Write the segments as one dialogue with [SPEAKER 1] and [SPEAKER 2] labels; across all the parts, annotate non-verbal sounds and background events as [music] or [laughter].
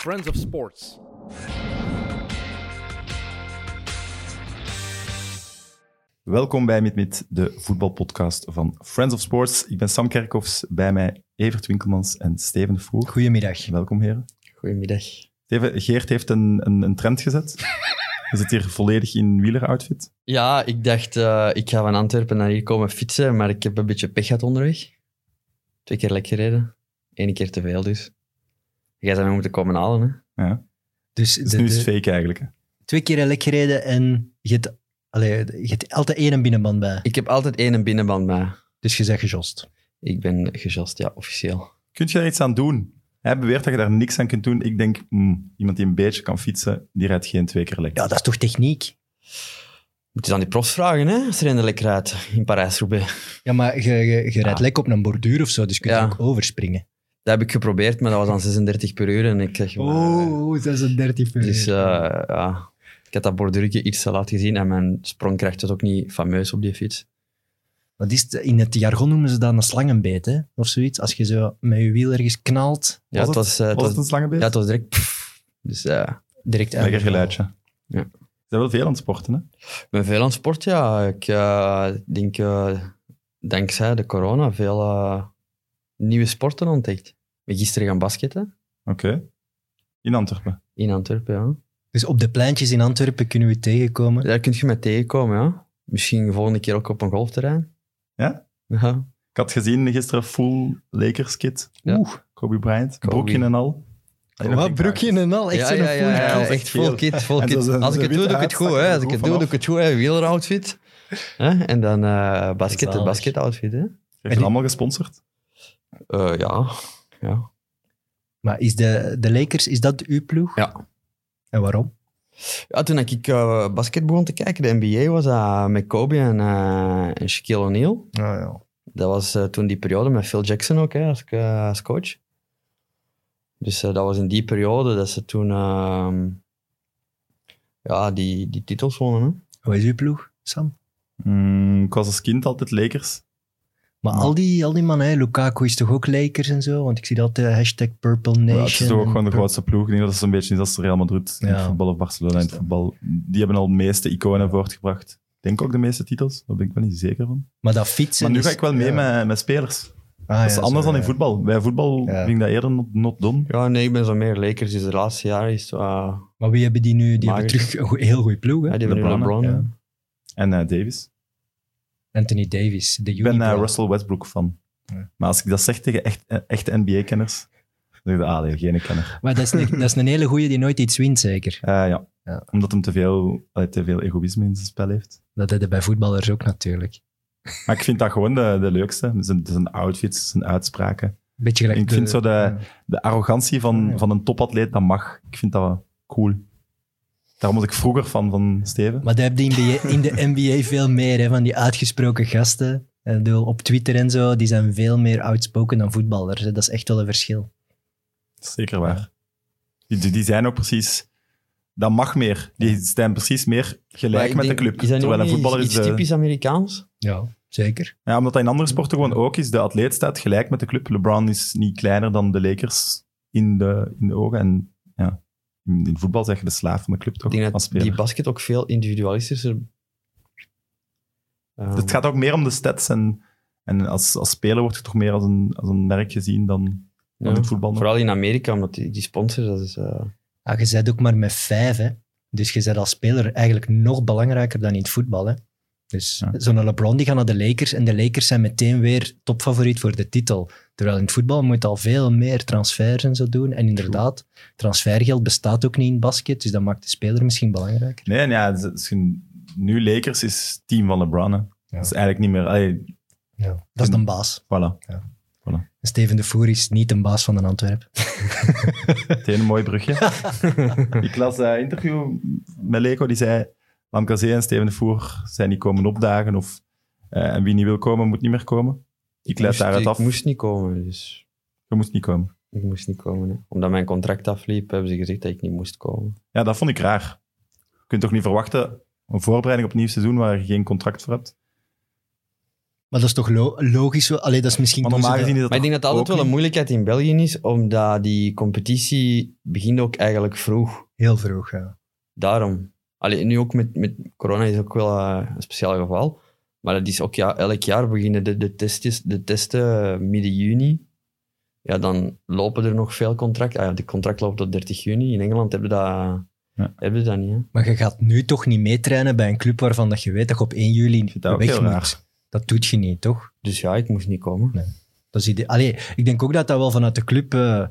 [SPEAKER 1] Friends of Sports.
[SPEAKER 2] Welkom bij Mit Mit, de voetbalpodcast van Friends of Sports. Ik ben Sam Kerkhoffs, bij mij Evert Winkelmans en Steven Vroeg.
[SPEAKER 3] Goedemiddag.
[SPEAKER 2] Welkom, heren.
[SPEAKER 4] Goedemiddag.
[SPEAKER 2] Steven, Geert heeft een, een, een trend gezet.
[SPEAKER 3] [laughs]
[SPEAKER 2] Hij zit hier volledig in wieleroutfit.
[SPEAKER 4] Ja, ik dacht, eh, ik ga van Antwerpen naar hier komen fietsen, maar ik heb een beetje pech gehad onderweg. Twee keer lek gereden. Eén keer te veel dus. Jij zou mij moeten komen halen, hè.
[SPEAKER 3] Dus,
[SPEAKER 2] Dus
[SPEAKER 3] de-
[SPEAKER 2] nu is
[SPEAKER 3] de-
[SPEAKER 2] het fake eigenlijk. hè.
[SPEAKER 3] twee keer lek gereden en je hebt, allee, je hebt altijd één binnenband bij.
[SPEAKER 4] Ik heb altijd één een binnenband bij.
[SPEAKER 3] Dus je zegt gejost.
[SPEAKER 4] Ik ben gejost, ja, officieel.
[SPEAKER 2] Kun je daar iets aan doen? Hij beweert dat je daar niks aan kunt doen. Ik denk, hmm, iemand die een beetje kan fietsen, die rijdt geen twee keer lekker.
[SPEAKER 3] Ja, dat is toch techniek?
[SPEAKER 4] Moet je dan die profs vragen, hè, als er een lek rijdt in Parijs-Roubaix.
[SPEAKER 3] Ja, maar je, je, je rijdt
[SPEAKER 4] Ja.
[SPEAKER 3] lek op een borduur of zo, dus je kunt
[SPEAKER 4] Ah. Ja.
[SPEAKER 3] ook overspringen.
[SPEAKER 4] Dat heb ik geprobeerd, maar dat was dan 36 per uur en ik zeg... maar,
[SPEAKER 3] dat is een 30
[SPEAKER 4] eh, Dus eh, ja, ik had dat borduurtje iets te laat gezien en mijn sprongkracht was ook niet fameus op die fiets.
[SPEAKER 3] Wat is het? In het jargon noemen ze dat een slangenbeet, hè? Of zoiets. Als je zo met je wiel ergens knalt,
[SPEAKER 4] Ja,
[SPEAKER 2] Was
[SPEAKER 4] het was, eh, het
[SPEAKER 2] Was
[SPEAKER 4] was
[SPEAKER 2] het een slangenbeest?
[SPEAKER 4] Ja, het was direct. pff. Dus eh,
[SPEAKER 3] direct uit.
[SPEAKER 2] Lekker geluidje.
[SPEAKER 4] Ja.
[SPEAKER 2] Ze zijn wel veel aan het sporten, hè?
[SPEAKER 4] ik ben veel aan het sport, ja. Ik eh, denk, eh, dankzij de corona, veel eh, nieuwe sporten ontdekt. Ik ben gisteren gaan basketten
[SPEAKER 2] Oké. In Antwerpen.
[SPEAKER 4] in Antwerpen, ja.
[SPEAKER 3] Dus op de pleintjes in Antwerpen kunnen we tegenkomen.
[SPEAKER 4] Daar kun je mij tegenkomen, ja. Misschien de volgende keer ook op een golfterrein.
[SPEAKER 2] Ja?
[SPEAKER 4] Ja.
[SPEAKER 2] Ik had gezien gisteren full Lakers kit.
[SPEAKER 4] Ja.
[SPEAKER 2] Oeh, Kobe Bryant.
[SPEAKER 4] Kobe.
[SPEAKER 2] Broekje en al. Alleen nog
[SPEAKER 3] Wat,
[SPEAKER 2] geen
[SPEAKER 3] broekje
[SPEAKER 2] kaartjes.
[SPEAKER 3] en al? Echt
[SPEAKER 4] ja,
[SPEAKER 3] zo'n
[SPEAKER 4] ja, ja, ja,
[SPEAKER 3] full
[SPEAKER 2] kit.
[SPEAKER 3] kit.
[SPEAKER 4] echt full kit, full
[SPEAKER 2] En
[SPEAKER 4] kit.
[SPEAKER 2] zo zijn
[SPEAKER 4] Als ik
[SPEAKER 2] ze
[SPEAKER 4] het doe,
[SPEAKER 2] witte
[SPEAKER 4] doe ik het goed. Hè.
[SPEAKER 2] uitzakken
[SPEAKER 4] Als ik het doe,
[SPEAKER 2] vanaf.
[SPEAKER 4] doe ik het goed. Hè. Wieleroutfit. Hè? En dan eh basket,
[SPEAKER 3] Zalig.
[SPEAKER 4] basket outfit. Hè?
[SPEAKER 2] Heeft het allemaal gesponsord?
[SPEAKER 4] Eh, ja. ja.
[SPEAKER 3] Maar is de, de Lakers, is dat uw ploeg?
[SPEAKER 4] Ja.
[SPEAKER 3] En waarom?
[SPEAKER 4] Ja, toen ik eh, basket begon te kijken, de NBA was dat met Kobe en, eh, en Shaquille O'Neal. Dat was eh, toen die periode met Phil Jackson ook hè, als, eh, als coach. Dus eh, dat was in die periode dat ze toen ehm, ja, die, die titels wonnen. Hè.
[SPEAKER 3] Wat is uw ploeg, Sam?
[SPEAKER 2] Mm, ik was als kind altijd Lakers.
[SPEAKER 3] Maar al die, al die mannen, hè, Lukaku is toch ook Lakers en zo? Want ik zie dat de hashtag Purple Nation.
[SPEAKER 2] Maar ja, het is toch ook
[SPEAKER 3] en
[SPEAKER 2] gewoon de
[SPEAKER 3] Pur-
[SPEAKER 2] grootste ploeg. Ik denk dat het een beetje is als Real Madrid in het
[SPEAKER 3] Ja.
[SPEAKER 2] voetbal of Barcelona in het
[SPEAKER 3] Dus
[SPEAKER 2] voetbal. Die hebben al de meeste iconen voortgebracht. Ik denk ook de meeste titels. Daar ben ik wel niet zeker van.
[SPEAKER 3] Maar dat fietsen...
[SPEAKER 2] Maar nu
[SPEAKER 3] is-
[SPEAKER 2] ga ik wel mee
[SPEAKER 3] dus- ja.
[SPEAKER 2] met, met spelers.
[SPEAKER 3] Ah,
[SPEAKER 2] dat is
[SPEAKER 3] ja,
[SPEAKER 2] anders
[SPEAKER 3] zo,
[SPEAKER 2] dan in
[SPEAKER 3] ja.
[SPEAKER 2] voetbal. Bij voetbal
[SPEAKER 3] Ja.
[SPEAKER 2] vind ik dat eerder not, not done.
[SPEAKER 4] Ja, nee, ik ben zo meer Lakers. Dus de laatste jaren is het, eh,
[SPEAKER 3] Maar wie hebben die nu? Die
[SPEAKER 4] Maar-
[SPEAKER 3] hebben terug een goe- heel goede ploeg, hè?
[SPEAKER 4] ja, die hebben nu
[SPEAKER 2] LeBron,
[SPEAKER 4] LeBron.
[SPEAKER 2] ja.
[SPEAKER 4] hè.
[SPEAKER 2] En eh, Davis.
[SPEAKER 3] Anthony Davis, de
[SPEAKER 2] Ik ben
[SPEAKER 3] Unibrow.
[SPEAKER 2] eh, Russell Westbrook fan.
[SPEAKER 3] Ja.
[SPEAKER 2] Maar als ik dat zeg tegen echt, eh, echte NBA-kenners, dan denk ik, ah nee, geen kenner.
[SPEAKER 3] Maar dat is, een, dat is een hele goeie die nooit iets wint, zeker.
[SPEAKER 2] Eh, ja.
[SPEAKER 3] Ja.
[SPEAKER 2] Omdat hem te veel, allee, te veel egoïsme in zijn spel heeft.
[SPEAKER 3] Dat hebben bij voetballers ook natuurlijk.
[SPEAKER 2] Maar ik vind dat gewoon de, de leukste. Zijn, zijn outfits, zijn uitspraken.
[SPEAKER 3] Beetje gelijk
[SPEAKER 2] Ik
[SPEAKER 3] de-
[SPEAKER 2] vind zo de, de arrogantie van,
[SPEAKER 4] Oh,
[SPEAKER 3] Ja.
[SPEAKER 2] van een topatleet, dat mag. Ik vind dat cool. Daar was ik vroeger van, van Steven.
[SPEAKER 3] Maar dat heb je in de, in de NBA veel meer, hè, van die uitgesproken gasten. Eh, Ik bedoel, op Twitter en zo, die zijn veel meer outspoken dan voetballers. Hè. Dat is echt wel een verschil.
[SPEAKER 2] Dat is zeker waar. Die- Die, die zijn ook precies... Dat mag meer. Die zijn precies meer
[SPEAKER 4] Maar
[SPEAKER 2] gelijk
[SPEAKER 4] ik
[SPEAKER 2] met
[SPEAKER 4] denk,
[SPEAKER 2] de club.
[SPEAKER 4] Is dat
[SPEAKER 2] Terwijl
[SPEAKER 4] niet
[SPEAKER 2] een
[SPEAKER 4] ook
[SPEAKER 2] voetballer
[SPEAKER 4] niet
[SPEAKER 2] is...
[SPEAKER 4] iets
[SPEAKER 2] de-
[SPEAKER 4] typisch Amerikaans?
[SPEAKER 3] Ja, zeker.
[SPEAKER 2] ja, omdat dat in andere sporten gewoon ook is. De atleet staat gelijk met de club. LeBron is niet kleiner dan de Lakers in de, in de ogen. En ja, in, in voetbal zeg je de slaaf van de club toch?
[SPEAKER 4] Ik denk
[SPEAKER 2] als
[SPEAKER 4] dat
[SPEAKER 2] speler.
[SPEAKER 4] die basket ook veel individualistischer... Ehm,
[SPEAKER 2] Dus het gaat ook meer om de stats. En, en als, als speler wordt je toch meer als een, als een merk gezien dan, dan
[SPEAKER 4] eh, ja.
[SPEAKER 2] in voetbal. nog.
[SPEAKER 4] Vooral in Amerika, omdat die, die sponsors, dat is... eh,
[SPEAKER 3] Ja, Ah, je bent ook maar met vijf, hè. Dus je bent als speler eigenlijk nog belangrijker dan in het voetbal, hè. Dus
[SPEAKER 2] Ja.
[SPEAKER 3] zo'n LeBron die gaat naar de Lakers en de Lakers zijn meteen weer topfavoriet voor de titel. Terwijl in het voetbal moet je al veel meer transfers en zo doen. En inderdaad, transfergeld bestaat ook niet in basket, dus dat maakt de speler misschien belangrijker.
[SPEAKER 2] Nee, en ja, het is- het is een- nu Lakers is team van LeBron. hè. Dat is eigenlijk niet meer... allee,
[SPEAKER 3] Dat is een baas.
[SPEAKER 2] voilà,
[SPEAKER 3] En Steven de Voer is niet een baas van een Antwerp.
[SPEAKER 2] meteen een mooi brugje. [laughs] Ik las eh, een interview met Leko, die zei... Lamkazee en Steven de Voer zijn niet komen opdagen. Of, eh, en wie niet wil komen, moet niet meer komen. Ik leid
[SPEAKER 4] moest-
[SPEAKER 2] daaruit
[SPEAKER 4] ik
[SPEAKER 2] af.
[SPEAKER 4] moest niet komen, dus...
[SPEAKER 2] Je moest niet komen.
[SPEAKER 4] Ik moest niet komen, hè. Omdat mijn contract afliep, hebben ze gezegd dat ik niet moest komen.
[SPEAKER 2] Ja, dat vond ik raar. Je kunt toch niet verwachten een voorbereiding op een nieuw seizoen waar je geen contract voor hebt?
[SPEAKER 3] Maar dat is toch lo- logisch? wel- Allee, dat is misschien...
[SPEAKER 2] Maar
[SPEAKER 3] doen ze
[SPEAKER 2] normaal
[SPEAKER 3] dat-
[SPEAKER 2] gezien is dat
[SPEAKER 4] Maar ik denk dat
[SPEAKER 2] toch
[SPEAKER 4] dat altijd
[SPEAKER 2] ook
[SPEAKER 4] wel een
[SPEAKER 2] niet-
[SPEAKER 4] moeilijkheid in België is, omdat die competitie begint ook eigenlijk vroeg.
[SPEAKER 3] Heel vroeg, ja.
[SPEAKER 4] Daarom. Allee, nu ook met, met corona is ook wel eh, een speciaal geval. Maar dat is ook ja, elk jaar beginnen de, de, testjes, de testen eh, midden juni. Ja, dan lopen er nog veel contracten. Ah, ja, de contract loopt tot 30 juni. In Engeland hebben dat,
[SPEAKER 2] Ja.
[SPEAKER 4] hebben dat niet. Hè?
[SPEAKER 3] Maar je gaat nu toch niet meetrainen bij een club waarvan dat je weet dat je op 1 juli
[SPEAKER 2] dat ook
[SPEAKER 3] weg
[SPEAKER 2] heel
[SPEAKER 3] moet.
[SPEAKER 2] raar.
[SPEAKER 3] Dat doet je niet, toch?
[SPEAKER 4] Dus ja, ik moest niet komen.
[SPEAKER 3] Dat is ide- Allee, ik denk ook dat dat wel vanuit de club eh,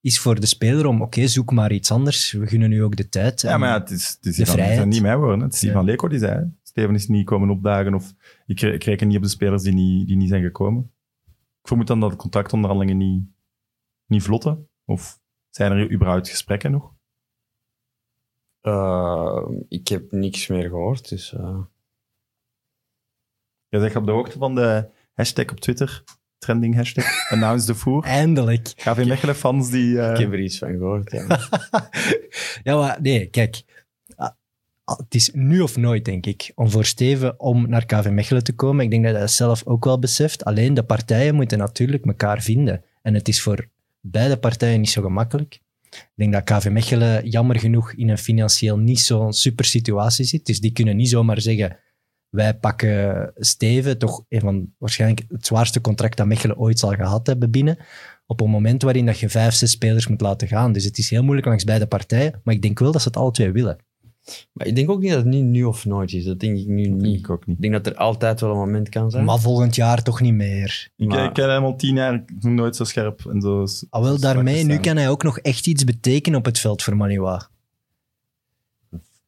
[SPEAKER 3] is voor de speler om, oké, zoek maar iets anders. We gunnen nu ook de tijd.
[SPEAKER 2] Ja,
[SPEAKER 3] En-
[SPEAKER 2] maar ja, het is, het is,
[SPEAKER 3] De
[SPEAKER 2] dan, het is dan
[SPEAKER 3] vrijheid.
[SPEAKER 2] niet mijn woorden. hè. Het is die
[SPEAKER 3] Ja.
[SPEAKER 2] van Leko die zei. hè. Steven is niet komen opdagen of ik kre- ik reken niet op de spelers die niet, die niet zijn gekomen. Ik vermoed dan dat de contractonderhandelingen niet, niet vlotten. Of zijn er überhaupt gesprekken nog?
[SPEAKER 4] Eh, ik heb niks meer gehoord. Dus, eh,
[SPEAKER 2] Jij zegt op de hoogte van de hashtag op Twitter, trending hashtag, [laughs] announce the voer.
[SPEAKER 3] Eindelijk.
[SPEAKER 2] KV Mechelen fans die... eh,
[SPEAKER 4] ik heb er iets van gehoord. Ja.
[SPEAKER 3] ja, maar nee, kijk. Ah, ah, Het is nu of nooit, denk ik, om voor Steven om naar KV Mechelen te komen. Ik denk dat hij dat zelf ook wel beseft. Alleen de partijen moeten natuurlijk elkaar vinden. En het is voor beide partijen niet zo gemakkelijk. Ik denk dat KV Mechelen jammer genoeg in een financieel niet zo'n super situatie zit. Dus die kunnen niet zomaar zeggen, wij pakken Steven, toch een van waarschijnlijk het zwaarste contract dat Mechelen ooit zal gehad hebben binnen op een moment waarin dat je vijf, zes spelers moet laten gaan. Dus het is heel moeilijk langs beide partijen. Maar ik denk wel dat ze het alle twee willen.
[SPEAKER 4] Maar ik denk ook niet dat het niet nu of nooit is. Dat denk ik nu
[SPEAKER 2] dat denk
[SPEAKER 4] niet.
[SPEAKER 2] ik ook niet.
[SPEAKER 4] Ik denk dat er altijd wel een moment kan zijn.
[SPEAKER 3] Maar volgend jaar toch niet meer.
[SPEAKER 2] Ik,
[SPEAKER 4] Maar-
[SPEAKER 2] ik ken hem al tien jaar, ik ben nooit zo scherp en zo...
[SPEAKER 3] Al Ah, wel daarmee, nu
[SPEAKER 2] ken
[SPEAKER 3] kan hij ook nog echt iets betekenen op het veld voor Maniwa.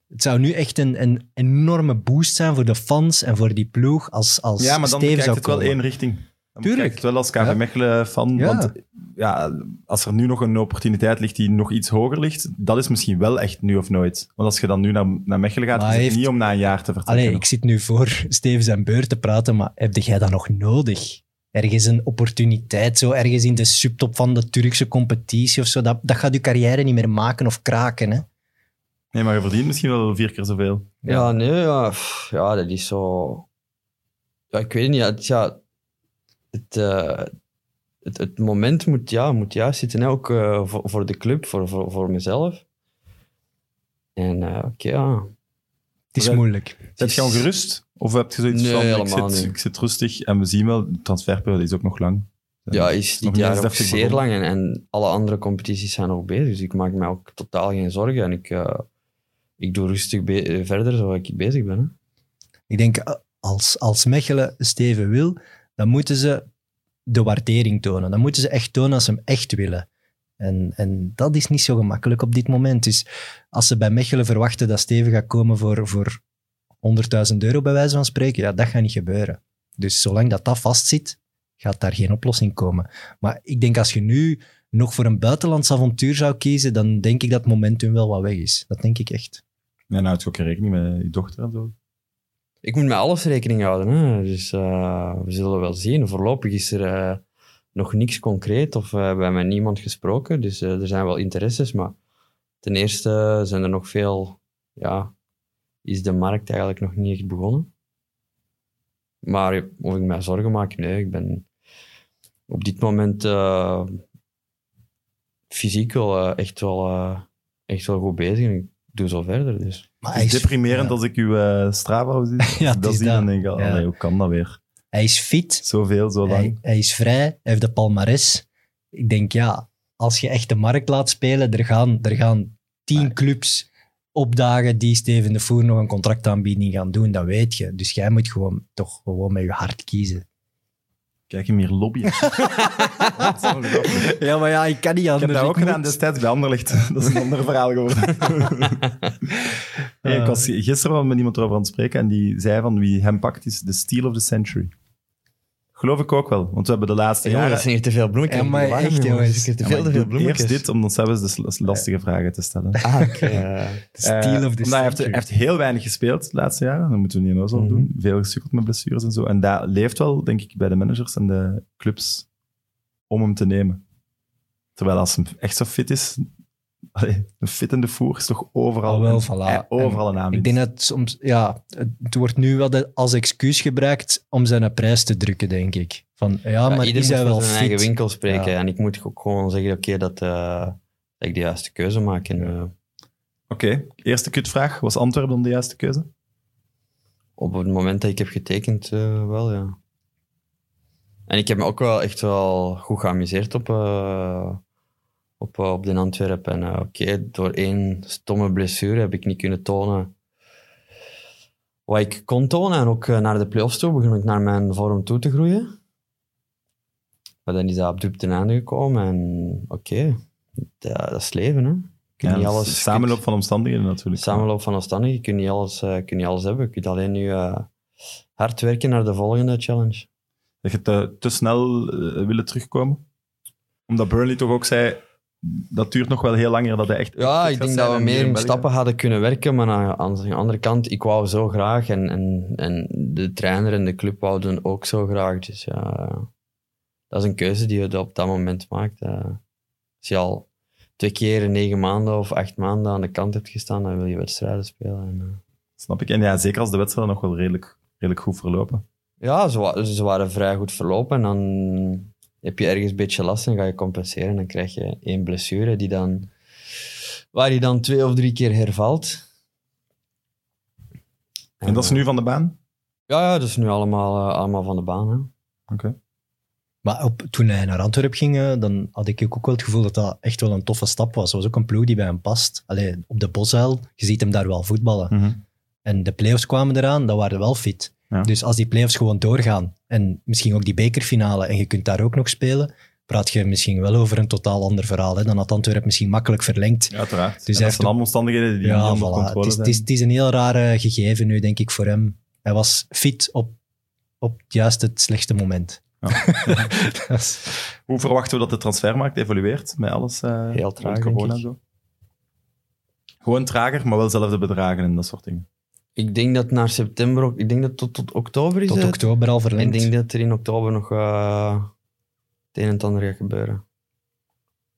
[SPEAKER 3] Het zou nu echt een, een enorme boost zijn voor de fans en voor die ploeg als, als
[SPEAKER 2] Ja, maar dan
[SPEAKER 3] Steven
[SPEAKER 2] kijkt
[SPEAKER 3] zou
[SPEAKER 2] het wel
[SPEAKER 3] komen.
[SPEAKER 2] één richting. Dan
[SPEAKER 3] Tuurlijk.
[SPEAKER 2] kijkt het wel als KV
[SPEAKER 3] Ja.
[SPEAKER 2] Mechelen van.
[SPEAKER 3] Ja.
[SPEAKER 2] Want ja, als er nu nog een opportuniteit ligt die nog iets hoger ligt, dat is misschien wel echt nu of nooit. Want als je dan nu naar, naar Mechelen gaat,
[SPEAKER 3] Maar
[SPEAKER 2] is het
[SPEAKER 3] heeft-
[SPEAKER 2] niet om na een jaar te vertrekken.
[SPEAKER 3] Allee, ik zit nu voor [laughs] Steven zijn beurt te praten, maar heb jij dat nog nodig? Ergens een opportuniteit, zo ergens in de subtop van de Turkse competitie of zo. Dat, dat gaat je carrière niet meer maken of kraken, hè?
[SPEAKER 2] Nee, maar je verdient misschien wel vier keer zoveel.
[SPEAKER 4] Ja, nee, ja, pff, ja, dat is zo. Ja, ik weet niet, ja, het, ja, het, eh, het, het moment moet, ja, moet juist zitten, hè, ook eh, voor, voor de club, voor, voor, voor mezelf. En eh, oké, ja.
[SPEAKER 3] Het is
[SPEAKER 2] Maar-
[SPEAKER 3] moeilijk.
[SPEAKER 2] Heb
[SPEAKER 4] is-
[SPEAKER 2] je al gerust? Of heb je zoiets
[SPEAKER 4] Nee,
[SPEAKER 2] van, ik
[SPEAKER 4] helemaal
[SPEAKER 2] zit,
[SPEAKER 4] niet.
[SPEAKER 2] ik zit rustig en we zien wel, de transferperiode is ook nog lang.
[SPEAKER 4] Ja, is dit
[SPEAKER 2] nog niet eens
[SPEAKER 4] jaar ook
[SPEAKER 2] deftig
[SPEAKER 4] zeer
[SPEAKER 2] begonnen.
[SPEAKER 4] lang en, en alle andere competities zijn nog bezig, dus ik maak me ook totaal geen zorgen en ik, eh, ik doe rustig be- eh, verder zoals ik bezig ben. Hè.
[SPEAKER 3] Ik denk, eh, als, als Mechelen Steven wil, dan moeten ze de waardering tonen. Dan moeten ze echt tonen als ze hem echt willen. En, en dat is niet zo gemakkelijk op dit moment. Dus als ze bij Mechelen verwachten dat Steven gaat komen voor, voor 100.000 euro, bij wijze van spreken, ja, dat gaat niet gebeuren. Dus zolang dat dat vastzit, gaat daar geen oplossing komen. Maar ik denk als je nu nog voor een buitenlands avontuur zou kiezen, dan denk ik dat het momentum wel wat weg is. Dat denk ik echt.
[SPEAKER 2] En houdt je nou, ook rekening met je dochter en zo.
[SPEAKER 4] Ik moet met alles rekening houden. Hè? Dus eh, we zullen wel zien. Voorlopig is er eh, nog niks concreet of eh, we hebben met niemand gesproken. Dus eh, er zijn wel interesses, maar ten eerste zijn er nog veel... Ja, is de markt eigenlijk nog niet echt begonnen. Maar of ik mij zorgen maak? Nee, ik ben op dit moment eh, fysiek wel eh, echt, wel, eh, echt wel goed bezig. En ik doe zo verder, dus...
[SPEAKER 3] Maar
[SPEAKER 2] Het is deprimerend
[SPEAKER 3] ja.
[SPEAKER 2] als ik uw eh Strava zie.
[SPEAKER 3] [laughs] Ja,
[SPEAKER 2] Als ik
[SPEAKER 3] het
[SPEAKER 2] dat
[SPEAKER 3] is
[SPEAKER 2] zie,
[SPEAKER 3] dat.
[SPEAKER 2] dan denk ik,
[SPEAKER 3] Ja.
[SPEAKER 2] allee, hoe kan dat weer?
[SPEAKER 3] Hij is fit,
[SPEAKER 2] Zoveel, zo lang.
[SPEAKER 3] Hij, hij is vrij, hij heeft de palmares. Ik denk, ja, als je echt de markt laat spelen, er gaan, er gaan tien clubs opdagen die Steven de Voer nog een contractaanbieding gaan doen, dat weet je. Dus jij moet gewoon toch gewoon met je hart kiezen.
[SPEAKER 2] Kijk hem hier [laughs] lobbyen. Dat is ongelooflijk.
[SPEAKER 3] Ja, maar ja, ik kan niet
[SPEAKER 2] Ik heb dat ook gedaan dus-
[SPEAKER 3] [laughs]
[SPEAKER 2] destijds bij Anderlecht. [laughs] Dat is een ander verhaal geworden. Nee, ik was gisteren wel met iemand erover aan het spreken en die zei van wie hem pakt is de steal of the century. Geloof ik ook wel, want we hebben de laatste
[SPEAKER 4] Ja,
[SPEAKER 2] jaren...
[SPEAKER 4] dat zijn hier te veel bloemetjes.
[SPEAKER 3] Ja, maar
[SPEAKER 4] Ik ben warm,
[SPEAKER 3] echt,
[SPEAKER 4] jongens.
[SPEAKER 3] jongens.
[SPEAKER 4] Ik heb te
[SPEAKER 2] Ja, maar
[SPEAKER 4] veel,
[SPEAKER 2] ik
[SPEAKER 4] te veel
[SPEAKER 2] doe eerst
[SPEAKER 4] bloemetjes.
[SPEAKER 2] dit, omdat zelfs de sl- sl- lastige vragen te stellen.
[SPEAKER 4] Ah, oké.
[SPEAKER 3] Steel
[SPEAKER 2] Eh,
[SPEAKER 3] of the
[SPEAKER 2] omdat hij heeft,
[SPEAKER 3] century.
[SPEAKER 2] hij heeft heel weinig gespeeld de laatste jaren. Dat moeten we niet in zo
[SPEAKER 4] Mhm.
[SPEAKER 2] doen. Veel gesukkeld met blessures en zo. En dat leeft wel, denk ik, bij de managers en de clubs om hem te nemen. Terwijl als hij echt zo fit is, allee, een fittende voer is toch overal,
[SPEAKER 3] Ah, wel,
[SPEAKER 2] een-
[SPEAKER 3] voilà.
[SPEAKER 2] eh, overal een
[SPEAKER 3] Ik
[SPEAKER 2] aanbieding.
[SPEAKER 3] denk dat het soms, ja, het wordt nu wel als excuus gebruikt om zijn prijs te drukken, denk ik. Van ja, Ah, maar die
[SPEAKER 4] ieder
[SPEAKER 3] zijn
[SPEAKER 4] moet voor
[SPEAKER 3] wel
[SPEAKER 4] zijn eigen
[SPEAKER 3] fit.
[SPEAKER 4] winkel spreken.
[SPEAKER 3] Ja.
[SPEAKER 4] En ik moet ook gewoon zeggen, oké, dat, eh, dat ik de juiste keuze maak. En, eh,
[SPEAKER 2] Oké, eerste kutvraag. Was Antwerpen dan de juiste keuze?
[SPEAKER 4] op het moment dat ik heb getekend, eh, wel, ja. En ik heb me ook wel echt wel goed geamuseerd op, eh, op, eh, op de Antwerpen. En eh, oké, door één stomme blessure heb ik niet kunnen tonen wat ik kon tonen. En ook eh, naar de playoffs toe begon ik naar mijn vorm toe te groeien. Maar dan is dat abrupt ten einde gekomen. En oké, dat, dat is leven, hè. Je kunt
[SPEAKER 2] Ja,
[SPEAKER 4] niet
[SPEAKER 2] dat is
[SPEAKER 4] alles-
[SPEAKER 2] Samenloop van omstandigheden natuurlijk.
[SPEAKER 4] Samenloop van afstanden, je kunt niet alles, eh, je kunt niet alles hebben. Je kunt alleen nu eh, hard werken naar de volgende challenge.
[SPEAKER 2] Dat je te, te snel eh, willen terugkomen. Omdat Burnley toch ook zei, dat duurt nog wel heel langer dat hij echt...
[SPEAKER 4] Ja,
[SPEAKER 2] fit
[SPEAKER 4] ik
[SPEAKER 2] gaat
[SPEAKER 4] denk
[SPEAKER 2] zijn
[SPEAKER 4] dat
[SPEAKER 2] en
[SPEAKER 4] we
[SPEAKER 2] hier
[SPEAKER 4] meer in
[SPEAKER 2] België-
[SPEAKER 4] stappen hadden kunnen werken, maar aan, aan de andere kant, ik wou zo graag en, en, en de trainer en de club wouden ook zo graag. Dus ja, dat is een keuze die je op dat moment maakt. eh. als je al twee keer in negen maanden of acht maanden aan de kant hebt gestaan, dan wil je wedstrijden spelen. En, eh,
[SPEAKER 2] Snap ik. En ja, zeker als de wedstrijden nog wel redelijk, redelijk goed verlopen.
[SPEAKER 4] Ja, ze, wa- ze waren vrij goed verlopen. En dan heb je ergens een beetje last en ga je compenseren. Dan krijg je één blessure die dan, waar je dan twee of drie keer hervalt.
[SPEAKER 2] En dat is nu van de baan?
[SPEAKER 4] Ja, ja, dat is nu allemaal, eh, allemaal van de baan. Hè.
[SPEAKER 3] Maar op, toen hij naar Antwerpen ging, eh, dan had ik ook wel het gevoel dat dat echt wel een toffe stap was. Dat was ook een ploeg die bij hem past. Alleen op de Bosuil, je ziet hem daar wel voetballen.
[SPEAKER 2] Hm. Mhm.
[SPEAKER 3] En de playoffs kwamen eraan, dan waren we wel fit.
[SPEAKER 2] Ja.
[SPEAKER 3] Dus als die playoffs gewoon doorgaan en misschien ook die bekerfinale en je kunt daar ook nog spelen, praat je misschien wel over een totaal ander verhaal. Hè? Dan had Antwerpen misschien makkelijk verlengd.
[SPEAKER 2] Ja, uiteraard. En
[SPEAKER 3] Dus hij
[SPEAKER 2] dat
[SPEAKER 3] heeft
[SPEAKER 2] zijn allemaal omstandigheden die niet
[SPEAKER 3] ja,
[SPEAKER 2] onder
[SPEAKER 3] voilà.
[SPEAKER 2] controle
[SPEAKER 3] het, is,
[SPEAKER 2] zijn.
[SPEAKER 3] het, is, het is een heel rare gegeven nu, denk ik, voor hem. Hij was fit op, op juist het slechtste moment. [laughs]
[SPEAKER 2] [laughs]
[SPEAKER 3] Dat is-
[SPEAKER 2] Hoe verwachten we dat de transfermarkt evolueert met alles? eh,
[SPEAKER 4] Heel traag,
[SPEAKER 2] rond corona
[SPEAKER 4] denk
[SPEAKER 2] en
[SPEAKER 4] ik.
[SPEAKER 2] zo? Gewoon trager, maar wel zelfde bedragen en dat soort dingen.
[SPEAKER 4] Ik denk dat naar september, ook- ik denk dat tot, tot oktober is.
[SPEAKER 3] tot
[SPEAKER 4] het.
[SPEAKER 3] oktober al
[SPEAKER 4] Ik
[SPEAKER 3] verlengd.
[SPEAKER 4] denk dat er in oktober nog eh, het een en het ander gaat gebeuren.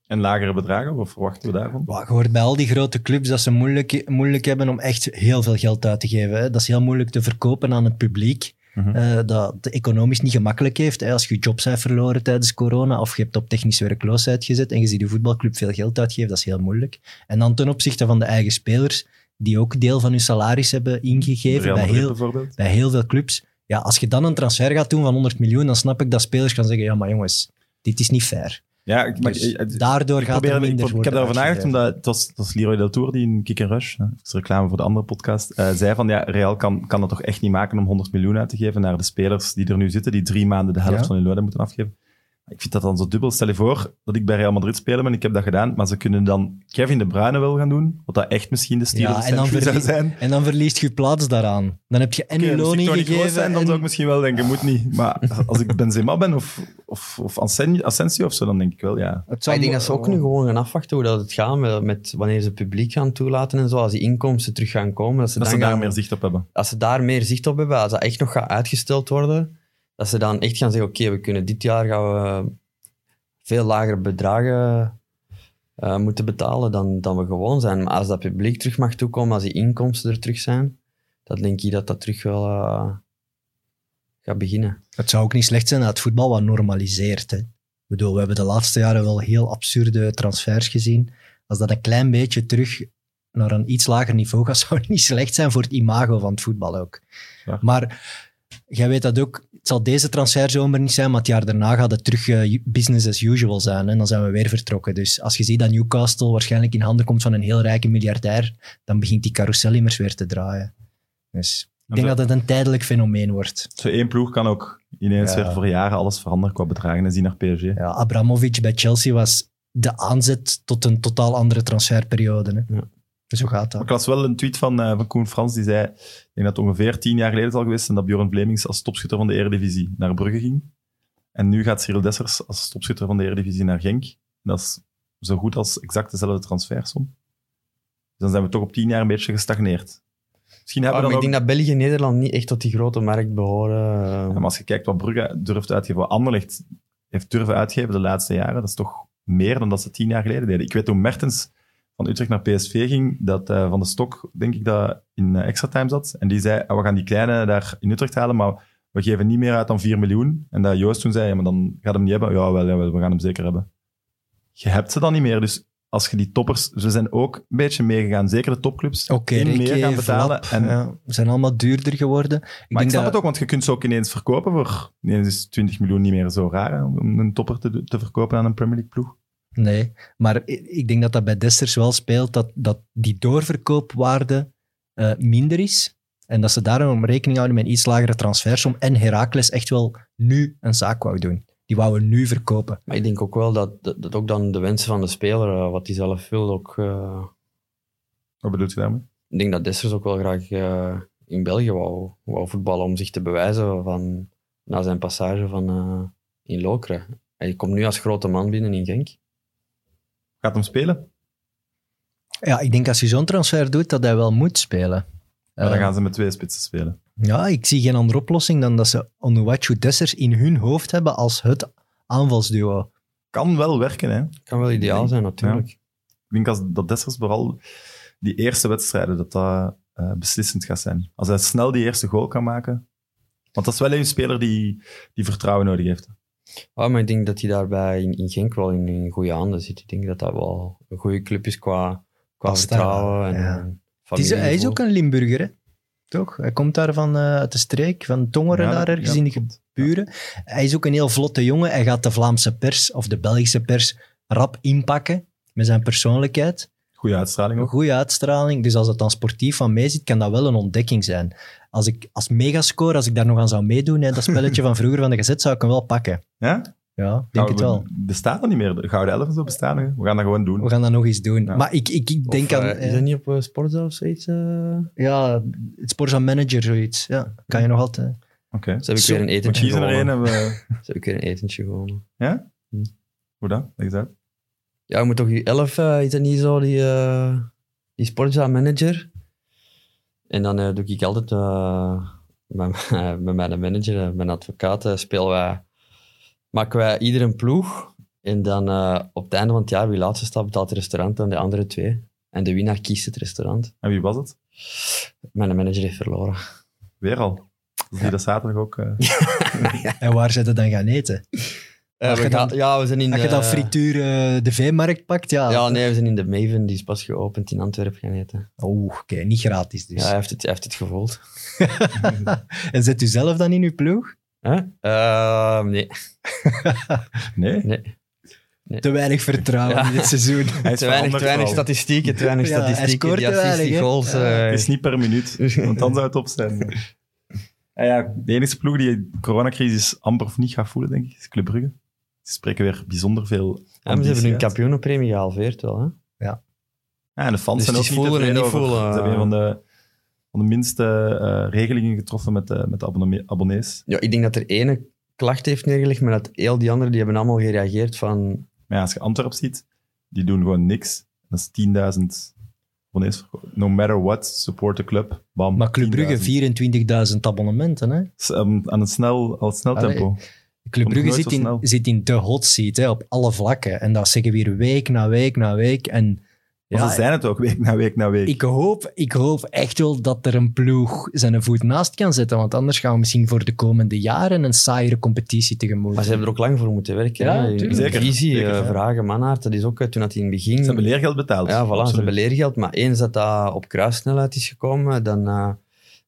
[SPEAKER 2] En lagere bedragen, wat verwachten we daarvan?
[SPEAKER 3] Ja, je hoort bij al die grote clubs dat ze moeilijk, moeilijk hebben om echt heel veel geld uit te geven. Hè. Dat is heel moeilijk te verkopen aan het publiek.
[SPEAKER 2] Mhm.
[SPEAKER 3] eh, dat het economisch niet gemakkelijk heeft. Hè. Als je je job hebt verloren tijdens corona of je hebt op technische werkloosheid gezet en je ziet de voetbalclub veel geld uitgeven, dat is heel moeilijk. En dan ten opzichte van de eigen spelers, die ook deel van hun salaris hebben ingegeven
[SPEAKER 2] Real
[SPEAKER 3] bij
[SPEAKER 2] Madrid
[SPEAKER 3] heel,
[SPEAKER 2] bijvoorbeeld.
[SPEAKER 3] bij heel veel clubs. Ja, als je dan een transfer gaat doen van 100 miljoen, dan snap ik dat spelers gaan zeggen, ja maar jongens, dit is niet fair.
[SPEAKER 2] Ja, ik, maar,
[SPEAKER 3] Dus
[SPEAKER 2] ik- ik-
[SPEAKER 3] Daardoor
[SPEAKER 2] ik
[SPEAKER 3] gaat
[SPEAKER 2] probeer-
[SPEAKER 3] er
[SPEAKER 2] ik,
[SPEAKER 3] minder
[SPEAKER 2] ik heb
[SPEAKER 3] worden
[SPEAKER 2] daarover nagedacht,
[SPEAKER 3] uitgegeven.
[SPEAKER 2] omdat het was, het was Leroy Del Tour die in Kick and Rush, hè, dat is reclame voor de andere podcast, eh, zei van ja, Real kan, kan dat toch echt niet maken om 100 miljoen uit te geven naar de spelers die er nu zitten, die drie maanden de helft
[SPEAKER 3] Ja.
[SPEAKER 2] van hun loon moeten afgeven. Ik vind dat dan zo dubbel. Stel je voor dat ik bij Real Madrid spelen ben, ik heb dat gedaan, maar ze kunnen dan Kevin De Bruyne wel gaan doen, wat dat echt misschien de
[SPEAKER 3] Ja,
[SPEAKER 2] Steelers
[SPEAKER 3] en dan
[SPEAKER 2] century zou
[SPEAKER 3] verdien-
[SPEAKER 2] zijn.
[SPEAKER 3] En dan verliest je plaats daaraan. Dan heb je en je
[SPEAKER 2] Oké,
[SPEAKER 3] loon
[SPEAKER 2] dus ik Toni Kroos
[SPEAKER 3] ingegeven.
[SPEAKER 2] zijn, dan
[SPEAKER 3] en-
[SPEAKER 2] zou ik misschien wel denken, moet niet. Maar [laughs] als ik Benzema ben of, of, of Asen- Asensio of zo, dan denk ik wel, ja.
[SPEAKER 3] Het
[SPEAKER 4] Maar
[SPEAKER 3] zou
[SPEAKER 4] ik denk
[SPEAKER 3] mo-
[SPEAKER 4] dat ze ook nu gewoon gaan afwachten hoe dat het gaat met, met wanneer ze het publiek gaan toelaten en zo. Als die inkomsten terug gaan komen, dat ze,
[SPEAKER 2] Dat
[SPEAKER 4] dan
[SPEAKER 2] ze daar
[SPEAKER 4] gaan-
[SPEAKER 2] meer zicht op hebben.
[SPEAKER 4] als ze daar meer zicht op hebben, als dat echt nog gaat uitgesteld worden, dat ze dan echt gaan zeggen, oké, we kunnen dit jaar gaan we veel lagere bedragen eh, moeten betalen dan, dan we gewoon zijn. Maar als dat publiek terug mag toekomen, als die inkomsten er terug zijn, dan denk ik dat dat terug wel eh, gaat beginnen.
[SPEAKER 3] Het zou ook niet slecht zijn dat het voetbal wat normaliseert. Hè. Ik bedoel, we hebben de laatste jaren wel heel absurde transfers gezien. Als dat een klein beetje terug naar een iets lager niveau gaat, [laughs] zou het niet slecht zijn voor het imago van het voetbal ook.
[SPEAKER 2] Ja.
[SPEAKER 3] Maar jij weet dat ook, het zal deze transferzomer niet zijn, maar het jaar daarna gaat het terug eh, business as usual zijn. En dan zijn we weer vertrokken. Dus als je ziet dat Newcastle waarschijnlijk in handen komt van een heel rijke miljardair, dan begint die carousel immers weer te draaien. Dus ik
[SPEAKER 2] En
[SPEAKER 3] denk
[SPEAKER 2] zo-
[SPEAKER 3] dat het een tijdelijk fenomeen wordt.
[SPEAKER 2] Zo één ploeg kan ook ineens
[SPEAKER 3] Ja.
[SPEAKER 2] weer voor jaren alles veranderen qua bedragen en zien naar PSG.
[SPEAKER 3] Ja, Abramovic bij Chelsea was de aanzet tot een totaal andere transferperiode. Hè?
[SPEAKER 4] Ja.
[SPEAKER 3] Zo gaat dat.
[SPEAKER 2] Maar ik las wel een tweet van, eh, van Koen Frans, die zei, ik denk dat het ongeveer tien jaar geleden is al geweest, en dat Bjorn Vlemings als topschutter van de Eredivisie naar Brugge ging. En nu gaat Cyril Dessers als topschutter van de Eredivisie naar Genk. En dat is zo goed als exact dezelfde transfersom. Dus dan zijn we toch op tien jaar een beetje gestagneerd. Misschien hebben
[SPEAKER 4] Ah, maar
[SPEAKER 2] we
[SPEAKER 4] ik
[SPEAKER 2] dan
[SPEAKER 4] denk
[SPEAKER 2] ook...
[SPEAKER 4] dat België en Nederland niet echt tot die grote markt behoren. eh.
[SPEAKER 3] Ehm,
[SPEAKER 2] Ja, maar als je kijkt wat Brugge durft uitgeven, wat Anderlecht heeft durven uitgeven de laatste jaren, dat is toch meer dan dat ze tien jaar geleden deden. Ik weet toen Mertens van Utrecht naar PSV ging, dat eh, Van de Stok, denk ik, dat in eh, extra time zat. En die zei, "Ah, we gaan die kleine daar in Utrecht halen, maar we geven niet meer uit dan 4 miljoen. En dat Joost toen zei, ja, maar dan gaat hem niet hebben. Ja, wel, jawel, we gaan hem zeker hebben. Je hebt ze dan niet meer, dus als je die toppers... Ze zijn ook een beetje meegegaan, zeker de topclubs.
[SPEAKER 3] Oké,
[SPEAKER 2] in meer
[SPEAKER 3] Riquet,
[SPEAKER 2] gaan betalen.
[SPEAKER 3] Vlap,
[SPEAKER 2] en,
[SPEAKER 3] ja, Ze zijn allemaal duurder geworden. Ik
[SPEAKER 2] maar ik
[SPEAKER 3] denk
[SPEAKER 2] snap
[SPEAKER 3] dat,
[SPEAKER 2] het ook, want je kunt ze ook ineens verkopen voor... Ineens is 20 miljoen niet meer zo raar, hè, om een topper te, te verkopen aan een Premier League ploeg.
[SPEAKER 3] Nee, maar i- ik denk dat dat bij Desters wel speelt, dat, dat die doorverkoopwaarde eh, minder is. En dat ze daarom rekening houden met een iets lagere transfersom. En Heracles echt wel nu een zaak wou doen. Die wouden nu verkopen.
[SPEAKER 4] Maar ik denk ook wel dat, dat, dat ook dan de wensen van de speler, eh, wat hij zelf wil, ook... eh,
[SPEAKER 2] Wat bedoelt je daarmee?
[SPEAKER 4] ik denk dat Dessers ook wel graag eh, in België wou, wou voetballen om zich te bewijzen van, na zijn passage van, eh, in Lokeren. Hij komt nu als grote man binnen in Genk.
[SPEAKER 2] Gaat hem spelen?
[SPEAKER 3] Ja, ik denk als je zo'n transfer doet, dat hij wel moet spelen.
[SPEAKER 2] Maar dan
[SPEAKER 3] Eh,
[SPEAKER 2] gaan ze met twee spitsen spelen.
[SPEAKER 3] Ja, ik zie geen andere oplossing dan dat ze Onuwachu Dessers in hun hoofd hebben als het aanvalsduo.
[SPEAKER 2] Kan wel werken, hè.
[SPEAKER 4] Kan wel ideaal zijn, natuurlijk.
[SPEAKER 2] Ik denk als dat Dessers vooral die eerste wedstrijden, dat dat eh, beslissend gaat zijn. Als hij snel die eerste goal kan maken. Want dat is wel een speler die, die vertrouwen nodig heeft.
[SPEAKER 4] Ah, maar ik denk dat hij daarbij in, in Genk wel in, in goede handen zit. Ik denk dat dat wel een goede club is qua, qua
[SPEAKER 3] Past daar wel,
[SPEAKER 4] vertrouwen. En,
[SPEAKER 3] ja.
[SPEAKER 4] en
[SPEAKER 3] Het is, hij is
[SPEAKER 4] familiegevoel.
[SPEAKER 3] ook een Limburger, hè? Toch? Hij komt daar van, eh, uit de streek, van Tongeren,
[SPEAKER 2] Ja,
[SPEAKER 3] daar
[SPEAKER 2] dat-
[SPEAKER 3] ergens
[SPEAKER 2] ja,
[SPEAKER 3] in de
[SPEAKER 2] dat klopt.
[SPEAKER 3] buren. Hij is ook een heel vlotte jongen. Hij gaat de Vlaamse pers of de Belgische pers rap inpakken met zijn persoonlijkheid.
[SPEAKER 2] Goede uitstraling
[SPEAKER 3] Een
[SPEAKER 2] ook.
[SPEAKER 3] goede uitstraling. Dus als het dan sportief van mee zit, kan dat wel een ontdekking zijn. Als ik als megascore, als ik daar nog aan zou meedoen, hè, dat
[SPEAKER 2] [laughs]
[SPEAKER 3] spelletje van vroeger van de gezet, zou ik hem wel pakken.
[SPEAKER 2] Ja? Nou,
[SPEAKER 3] Ja, ik denk
[SPEAKER 2] Gouden-
[SPEAKER 3] het wel.
[SPEAKER 2] Bestaat dat niet meer? De Gouden Elf en zo bestaan nog. We gaan dat gewoon doen.
[SPEAKER 3] We gaan dat nog eens doen.
[SPEAKER 2] Ja.
[SPEAKER 3] Maar ik, ik, ik
[SPEAKER 4] Of,
[SPEAKER 3] denk aan...
[SPEAKER 4] eh, is
[SPEAKER 3] eh,
[SPEAKER 4] dat niet op eh, Sportza of zoiets? eh?
[SPEAKER 3] ja, het sportzaam manager, zoiets. Ja, kan je nog altijd...
[SPEAKER 2] Oké.
[SPEAKER 4] Ze heb ik
[SPEAKER 3] Zo,
[SPEAKER 4] weer een
[SPEAKER 2] We
[SPEAKER 4] etentje
[SPEAKER 2] kiezen er een
[SPEAKER 4] gewonnen.
[SPEAKER 2] en we...
[SPEAKER 4] Ze heb ik weer een etentje gewonnen.
[SPEAKER 2] Hoe dan? Leg eens uit.
[SPEAKER 4] Ja, je moet toch je 11, eh, is dat niet zo, die, eh die Sportza manager? En dan eh, doe ik altijd eh met, [laughs] met mijn manager, eh, mijn advocaat, eh, spelen wij, maken wij ieder een ploeg. En dan eh, op het einde van het jaar, wie laatste staat, betaalt het restaurant aan de andere twee. En de winnaar kiest het restaurant.
[SPEAKER 2] En wie was het?
[SPEAKER 4] Mijn manager heeft verloren.
[SPEAKER 2] Weer al. Dat is Die dat zaterdag ook... eh,
[SPEAKER 3] En waar ze dat dan gaan eten?
[SPEAKER 4] Eh, we
[SPEAKER 3] je dan-
[SPEAKER 4] gaan- ja, we zijn in
[SPEAKER 3] Als je
[SPEAKER 4] de...
[SPEAKER 3] dan frituur eh, de veemarkt pakt, ja.
[SPEAKER 4] Ja, nee, we zijn in de Maven, die is pas geopend in Antwerpen gaan eten.
[SPEAKER 3] Oeh, oké, niet gratis dus.
[SPEAKER 4] Ja, hij heeft het, hij heeft het gevoeld.
[SPEAKER 3] [laughs] en zet u zelf dan in uw ploeg?
[SPEAKER 4] Huh? Eh, nee,
[SPEAKER 2] Nee?
[SPEAKER 4] nee.
[SPEAKER 3] Te weinig vertrouwen
[SPEAKER 4] Ja.
[SPEAKER 3] in dit
[SPEAKER 4] [laughs]
[SPEAKER 3] seizoen.
[SPEAKER 2] Hij is
[SPEAKER 4] Te weinig,
[SPEAKER 2] veranderd
[SPEAKER 4] te weinig
[SPEAKER 2] wel.
[SPEAKER 4] statistieken, te weinig
[SPEAKER 3] Ja, hij
[SPEAKER 4] statistieken.
[SPEAKER 3] scoort
[SPEAKER 4] die
[SPEAKER 3] te
[SPEAKER 4] assists, die
[SPEAKER 3] weinig, hè?
[SPEAKER 4] goals.
[SPEAKER 3] Ja.
[SPEAKER 4] eh,
[SPEAKER 2] Het is niet per minuut, want dan zou het op [laughs] zijn. En Ah ja, de enige ploeg die de coronacrisis amper of niet gaat voelen, denk ik, is Club Brugge. Ze spreken weer bijzonder veel.
[SPEAKER 4] ja, maar ze hebben
[SPEAKER 2] ambitie
[SPEAKER 4] hun
[SPEAKER 2] uit.
[SPEAKER 4] kampioenenpremie gehalveerd wel. Hè?
[SPEAKER 2] Ja, Ah, en de fans
[SPEAKER 4] Dus
[SPEAKER 2] zijn
[SPEAKER 4] die
[SPEAKER 2] ook niet
[SPEAKER 4] voelen en
[SPEAKER 2] tevreden
[SPEAKER 4] die
[SPEAKER 2] over.
[SPEAKER 4] voelen,
[SPEAKER 2] Ze
[SPEAKER 4] eh.
[SPEAKER 2] hebben een van de, van de minste eh, regelingen getroffen met, de- met de abonne- abonnees.
[SPEAKER 4] Ja, ik denk dat er ene klacht heeft neergelegd, maar dat heel die anderen die hebben allemaal gereageerd van...
[SPEAKER 2] Maar ja, als je Antwerp ziet, die doen gewoon niks. Dat is 10.000 abonnees. verkopen. No matter what, support the club. Bam,
[SPEAKER 3] Maar Club
[SPEAKER 2] 10.000.
[SPEAKER 3] Brugge 24.000 abonnementen. Hè?
[SPEAKER 2] S- um, aan het snel, al het snel
[SPEAKER 3] Allee.
[SPEAKER 2] tempo.
[SPEAKER 3] Club
[SPEAKER 2] Komt
[SPEAKER 3] Brugge
[SPEAKER 2] nooit
[SPEAKER 3] zit
[SPEAKER 2] zo
[SPEAKER 3] in,
[SPEAKER 2] snel.
[SPEAKER 3] zit in de hot seat hè, op alle vlakken. En dat zeggen we hier week na week na week. En
[SPEAKER 2] Maar
[SPEAKER 3] ja,
[SPEAKER 2] ze zijn het ook, week na week na week.
[SPEAKER 3] ik, hoop, ik hoop echt wel dat er een ploeg zijn voet naast kan zetten. Want anders gaan we misschien voor de komende jaren een saaiere competitie tegemoet.
[SPEAKER 4] Maar ze hebben er ook lang voor moeten werken.
[SPEAKER 3] Ja,
[SPEAKER 4] hè? In- In
[SPEAKER 3] tuurlijk.
[SPEAKER 4] de
[SPEAKER 2] Zeker,
[SPEAKER 4] visie, eh,
[SPEAKER 2] zeker, ja.
[SPEAKER 4] Vragen, Mannaert, dat is ook eh, toen dat hij in het begin...
[SPEAKER 2] Ze hebben leergeld betaald.
[SPEAKER 4] Ja, voilà, ze
[SPEAKER 2] Absoluut.
[SPEAKER 4] hebben leergeld. Maar eens dat dat op kruissnelheid is gekomen, dan eh,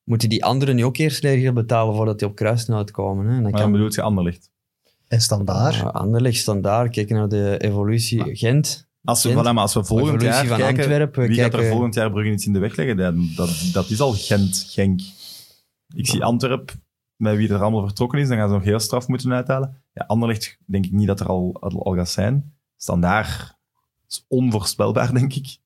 [SPEAKER 4] moeten die anderen nu ook eerst leergeld betalen voordat die op kruissnelheid komen. Hè. En dan
[SPEAKER 2] Maar dan bedoel je Anderlicht.
[SPEAKER 3] En standaard.
[SPEAKER 4] Ja, Anderlecht, Standaard, kijken naar de evolutie. Gent,
[SPEAKER 2] Als we,
[SPEAKER 4] Gent?
[SPEAKER 2] voilà, maar als we volgend
[SPEAKER 4] evolutie
[SPEAKER 2] jaar
[SPEAKER 4] van
[SPEAKER 2] kijken,
[SPEAKER 4] Antwerpen. eh,
[SPEAKER 2] wie gaat er
[SPEAKER 4] kijken-
[SPEAKER 2] volgend jaar Brugge iets in de weg leggen? Dan- Dat, dat is al Gent, Genk. Ik zie Antwerp, met wie er allemaal vertrokken is, dan gaan ze nog heel straf moeten uithalen. Ja, Anderlecht denk ik niet dat er al, al, al gaat zijn. Standaard is onvoorspelbaar, denk ik.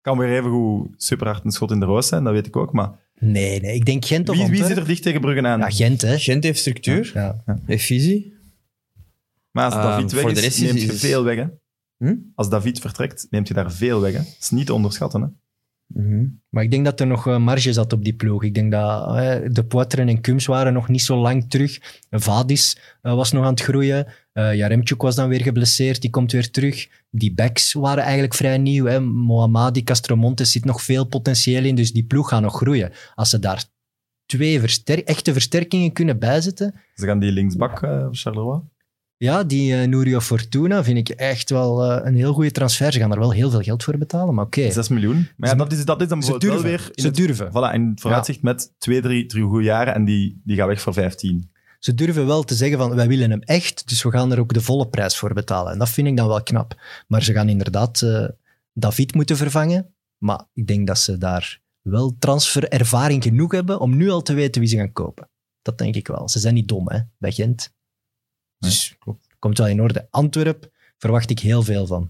[SPEAKER 2] Kan weer even goed super hard een schot in de roos zijn, dat weet ik ook. Maar
[SPEAKER 3] Nee, nee, ik denk Gent of
[SPEAKER 2] wie, wie zit
[SPEAKER 3] Antwerpen.
[SPEAKER 2] er dicht tegen Brugge aan?
[SPEAKER 3] Ja, Gent, hè.
[SPEAKER 4] Gent heeft structuur,
[SPEAKER 3] Ja.
[SPEAKER 4] heeft visie.
[SPEAKER 2] maar als
[SPEAKER 4] Ehm,
[SPEAKER 2] David weg
[SPEAKER 4] voor de
[SPEAKER 2] is,
[SPEAKER 4] rest is-
[SPEAKER 2] neemt je
[SPEAKER 3] dus-
[SPEAKER 4] is-
[SPEAKER 2] veel weg. Hè?
[SPEAKER 4] Hm?
[SPEAKER 2] Als David vertrekt, neemt je daar veel weg. Hè? Dat is niet te onderschatten. Hè?
[SPEAKER 4] Mhm.
[SPEAKER 3] Maar ik denk dat er nog eh, marge zat op die ploeg. Ik denk dat eh, de Poitren en Kums waren nog niet zo lang terug. Vadis eh, was nog aan het groeien. Eh Jaremchuk was dan weer geblesseerd. Die komt weer terug. Die backs waren eigenlijk vrij nieuw. Hè. Mohammadi, Castromontes zit nog veel potentieel in. Dus die ploeg gaat nog groeien. Als ze daar twee verster- echte versterkingen kunnen bijzetten.
[SPEAKER 2] Ze gaan die linksbak, eh, Charleroi.
[SPEAKER 3] Ja, die eh Nurio Fortuna vind ik echt wel eh, een heel goede transfer. Ze gaan daar wel heel veel geld voor betalen. Maar oké,
[SPEAKER 2] 6 miljoen. Maar ja,
[SPEAKER 3] Ze-
[SPEAKER 2] dat is, dat is dan
[SPEAKER 3] ze
[SPEAKER 2] bijvoorbeeld
[SPEAKER 3] durven.
[SPEAKER 2] wel weer... In
[SPEAKER 3] ze
[SPEAKER 2] het,
[SPEAKER 3] durven.
[SPEAKER 2] voilà, in het vooruitzicht met twee, drie, drie goede jaren en die, die gaat weg voor 15.
[SPEAKER 3] Ze durven wel te zeggen van wij willen hem echt, dus we gaan er ook de volle prijs voor betalen. En dat vind ik dan wel knap. Maar ze gaan inderdaad eh, David moeten vervangen. Maar ik denk dat ze daar wel transferervaring genoeg hebben om nu al te weten wie ze gaan kopen. Dat denk ik wel. Ze zijn niet dom, hè, bij Gent. Dus
[SPEAKER 2] klopt.
[SPEAKER 3] komt wel in orde. Antwerp verwacht ik heel veel van.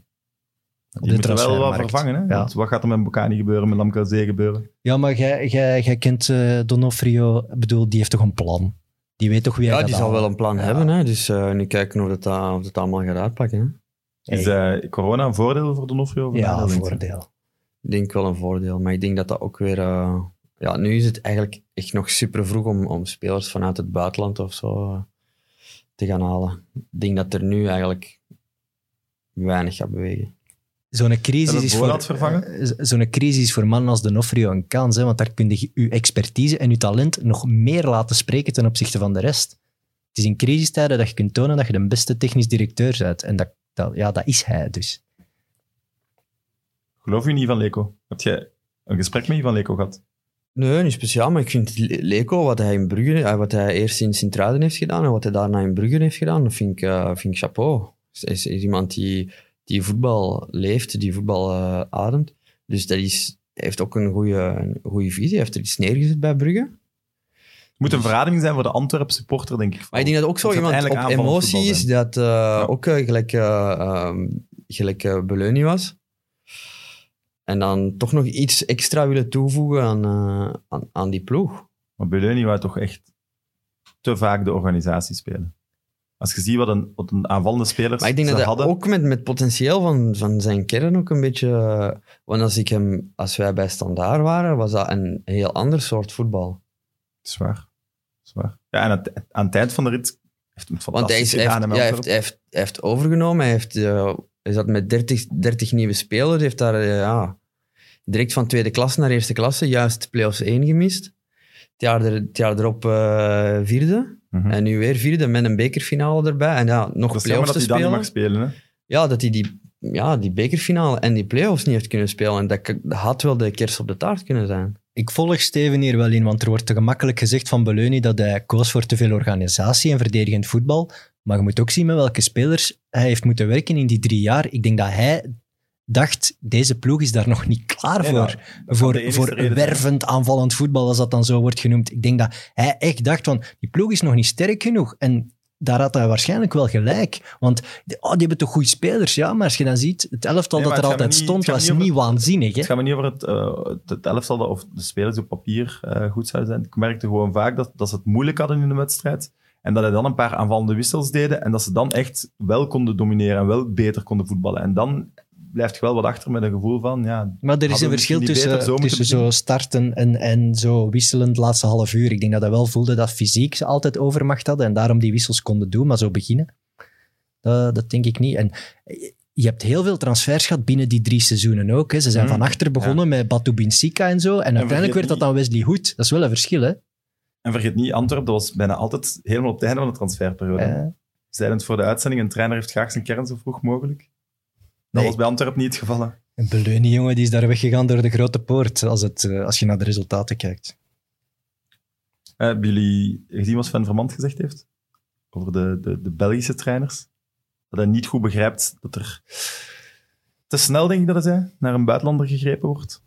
[SPEAKER 3] Op
[SPEAKER 2] Die moeten wel wat
[SPEAKER 3] transfermarkt.
[SPEAKER 2] vervangen. Hè?
[SPEAKER 3] Ja.
[SPEAKER 2] Want wat gaat er met Bocani gebeuren, met Lamkazee gebeuren?
[SPEAKER 3] Ja, maar jij- jij jij kent eh, Donofrio. Ik bedoel, die heeft toch een plan? Die weet toch wie hij
[SPEAKER 4] Ja,
[SPEAKER 3] gaat
[SPEAKER 4] die zal
[SPEAKER 3] halen?
[SPEAKER 4] wel een plan
[SPEAKER 3] Ja.
[SPEAKER 4] hebben. Hè? Dus eh, nu kijken of dat, dat- of dat allemaal gaat uitpakken. Hè?
[SPEAKER 2] Is eh, corona een voordeel voor Donofrio? of een
[SPEAKER 3] Ja,
[SPEAKER 2] nadeel, denk je?
[SPEAKER 3] voordeel.
[SPEAKER 4] Ik denk wel een voordeel. Maar ik denk dat dat ook weer... eh, ja, nu is het eigenlijk echt nog super vroeg om, om spelers vanuit het buitenland of zo eh, te gaan halen. Ik denk dat er nu eigenlijk weinig gaat bewegen.
[SPEAKER 3] Zo'n crisis,
[SPEAKER 2] Hebben
[SPEAKER 3] is
[SPEAKER 2] we
[SPEAKER 3] voor,
[SPEAKER 2] Borat vervangen?
[SPEAKER 3] eh, zo'n crisis is voor mannen als Donofrio een kans, hè, want daar kun je je expertise en je talent nog meer laten spreken ten opzichte van de rest. Het is in crisistijden dat je kunt tonen dat je de beste technisch directeur bent. En dat, dat- ja, dat is hij dus.
[SPEAKER 2] Geloof je niet van Leko? Heb jij een gesprek met Ivan Leko gehad?
[SPEAKER 4] Nee, niet speciaal. Maar ik vind Le- Leko, wat hij in Brugge... eh, wat hij eerst in Sint-Truiden heeft gedaan en wat hij daarna in Brugge heeft gedaan, dat vind ik, eh, vind ik chapeau. Is, is, is iemand die, die voetbal leeft, die voetbal eh, ademt. Dus dat is... Heeft ook een goede, een goede visie. Hij heeft er iets neergezet bij Brugge.
[SPEAKER 2] Het moet
[SPEAKER 3] Dus-
[SPEAKER 2] een verrading zijn voor de Antwerp supporter, denk ik.
[SPEAKER 4] Maar ik denk dat ook zo
[SPEAKER 2] Het zou
[SPEAKER 4] iemand op
[SPEAKER 2] uiteindelijk aanvallend
[SPEAKER 4] emotie is, dat eh, ook eh, gelijk, eh, ehm, gelijk eh, Beleuni was. En dan toch nog iets extra willen toevoegen aan, eh, aan, aan die ploeg.
[SPEAKER 2] Maar Beleuni wou toch echt te vaak de organisatie spelen. Als je ziet wat een, wat een aanvallende spelers
[SPEAKER 4] Maar ik denk
[SPEAKER 2] ze
[SPEAKER 4] dat dat
[SPEAKER 2] hadden...
[SPEAKER 4] ook met, met potentieel van, van zijn kern ook een beetje... eh, want als, ik hem, als wij bij Standaard waren, was dat een heel ander soort voetbal.
[SPEAKER 2] Zwaar. Zwaar. Ja, en aan het, aan het eind van de rit heeft hij het
[SPEAKER 4] Want hij,
[SPEAKER 2] fantastisch
[SPEAKER 4] is, hij heeft,
[SPEAKER 2] gedaan. hè,
[SPEAKER 4] ja,
[SPEAKER 2] met
[SPEAKER 4] hij, heeft,
[SPEAKER 2] Antwerp.
[SPEAKER 4] hij, heeft, hij heeft overgenomen. Hij, heeft, eh, hij zat met 30, 30 nieuwe spelers. Hij heeft daar eh, ja, direct van tweede klasse naar eerste klasse juist play-offs 1 gemist. Het jaar, er, het jaar erop eh, vierde.
[SPEAKER 2] Mhm.
[SPEAKER 4] En nu weer vierde met een bekerfinale erbij. En ja, nog
[SPEAKER 2] Dat is jammer dat
[SPEAKER 4] play-offs te
[SPEAKER 2] hij dat niet
[SPEAKER 4] spelen.
[SPEAKER 2] mag spelen. Hè?
[SPEAKER 4] Ja, dat hij die, ja, die bekerfinale en die play-offs niet heeft kunnen spelen. En dat k- dat had wel de kers op de taart kunnen zijn.
[SPEAKER 3] Ik volg Steven hier wel in, want er wordt te gemakkelijk gezegd van Beleuni dat hij koos voor te veel organisatie en verdedigend voetbal. Maar je moet ook zien met welke spelers hij heeft moeten werken in die drie jaar. Ik denk dat hij dacht, deze ploeg is daar nog niet klaar
[SPEAKER 2] Nee,
[SPEAKER 3] voor.
[SPEAKER 2] nou, dat kan de
[SPEAKER 3] voor,
[SPEAKER 2] enige
[SPEAKER 3] voor
[SPEAKER 2] reden zijn.
[SPEAKER 3] wervend aanvallend voetbal, als dat dan zo wordt genoemd. Ik denk dat hij echt dacht van, die ploeg is nog niet sterk genoeg. En daar had hij waarschijnlijk wel gelijk. Want die- oh, die hebben toch goede spelers, ja. Maar als je dan ziet, het elftal
[SPEAKER 2] Nee,
[SPEAKER 3] dat
[SPEAKER 2] maar
[SPEAKER 3] er
[SPEAKER 2] het gaat
[SPEAKER 3] altijd
[SPEAKER 2] me niet-
[SPEAKER 3] stond,
[SPEAKER 2] het gaat
[SPEAKER 3] was
[SPEAKER 2] me
[SPEAKER 3] niet,
[SPEAKER 2] niet
[SPEAKER 3] waanzinnig. Hè?
[SPEAKER 2] Het gaat me niet over het, eh, het elftal dat- of de spelers op papier eh, goed zouden zijn. Ik merkte gewoon vaak dat, dat ze het moeilijk hadden in de wedstrijd. En dat hij dan een paar aanvallende wissels deden. En dat ze dan echt wel konden domineren en wel beter konden voetballen. En dan blijft je wel wat achter met een gevoel van, ja,
[SPEAKER 3] Maar er
[SPEAKER 2] Hadden we
[SPEAKER 3] is een verschil
[SPEAKER 2] misschien niet
[SPEAKER 3] tussen,
[SPEAKER 2] beter zo moeten
[SPEAKER 3] tussen zo
[SPEAKER 2] beginnen?
[SPEAKER 3] starten en, en zo wisselend laatste half uur. Ik denk dat hij wel voelde dat fysiek ze altijd overmacht hadden en daarom die wissels konden doen, maar zo beginnen. Dat, dat denk ik niet. En je hebt heel veel transfers gehad binnen die drie seizoenen ook. Hè. Ze zijn
[SPEAKER 2] Mm,
[SPEAKER 3] van achter begonnen met Batu Binsika en zo. En, uiteindelijk werd
[SPEAKER 2] vergeet
[SPEAKER 3] dat dan Wesley Hoed. Dat is wel een verschil, hè?
[SPEAKER 2] En vergeet niet, Antwerp, dat was bijna altijd helemaal op het einde van de transferperiode.
[SPEAKER 3] Eh,
[SPEAKER 2] Zeiden het voor de uitzending, een trainer heeft graag zijn kern zo vroeg mogelijk. Dat
[SPEAKER 3] Nee.
[SPEAKER 2] was bij Antwerp niet het geval. hè. Eh,
[SPEAKER 3] En Beleunie, jongen, die is daar weggegaan door de grote poort als, het, eh, als je naar de resultaten kijkt.
[SPEAKER 2] Eh, Hebben jullie gezien wat Sven Vermand gezegd heeft? Over de, de, de Belgische trainers? Dat hij niet goed begrijpt dat er te snel, denk ik dat hij zei, naar een buitenlander gegrepen wordt.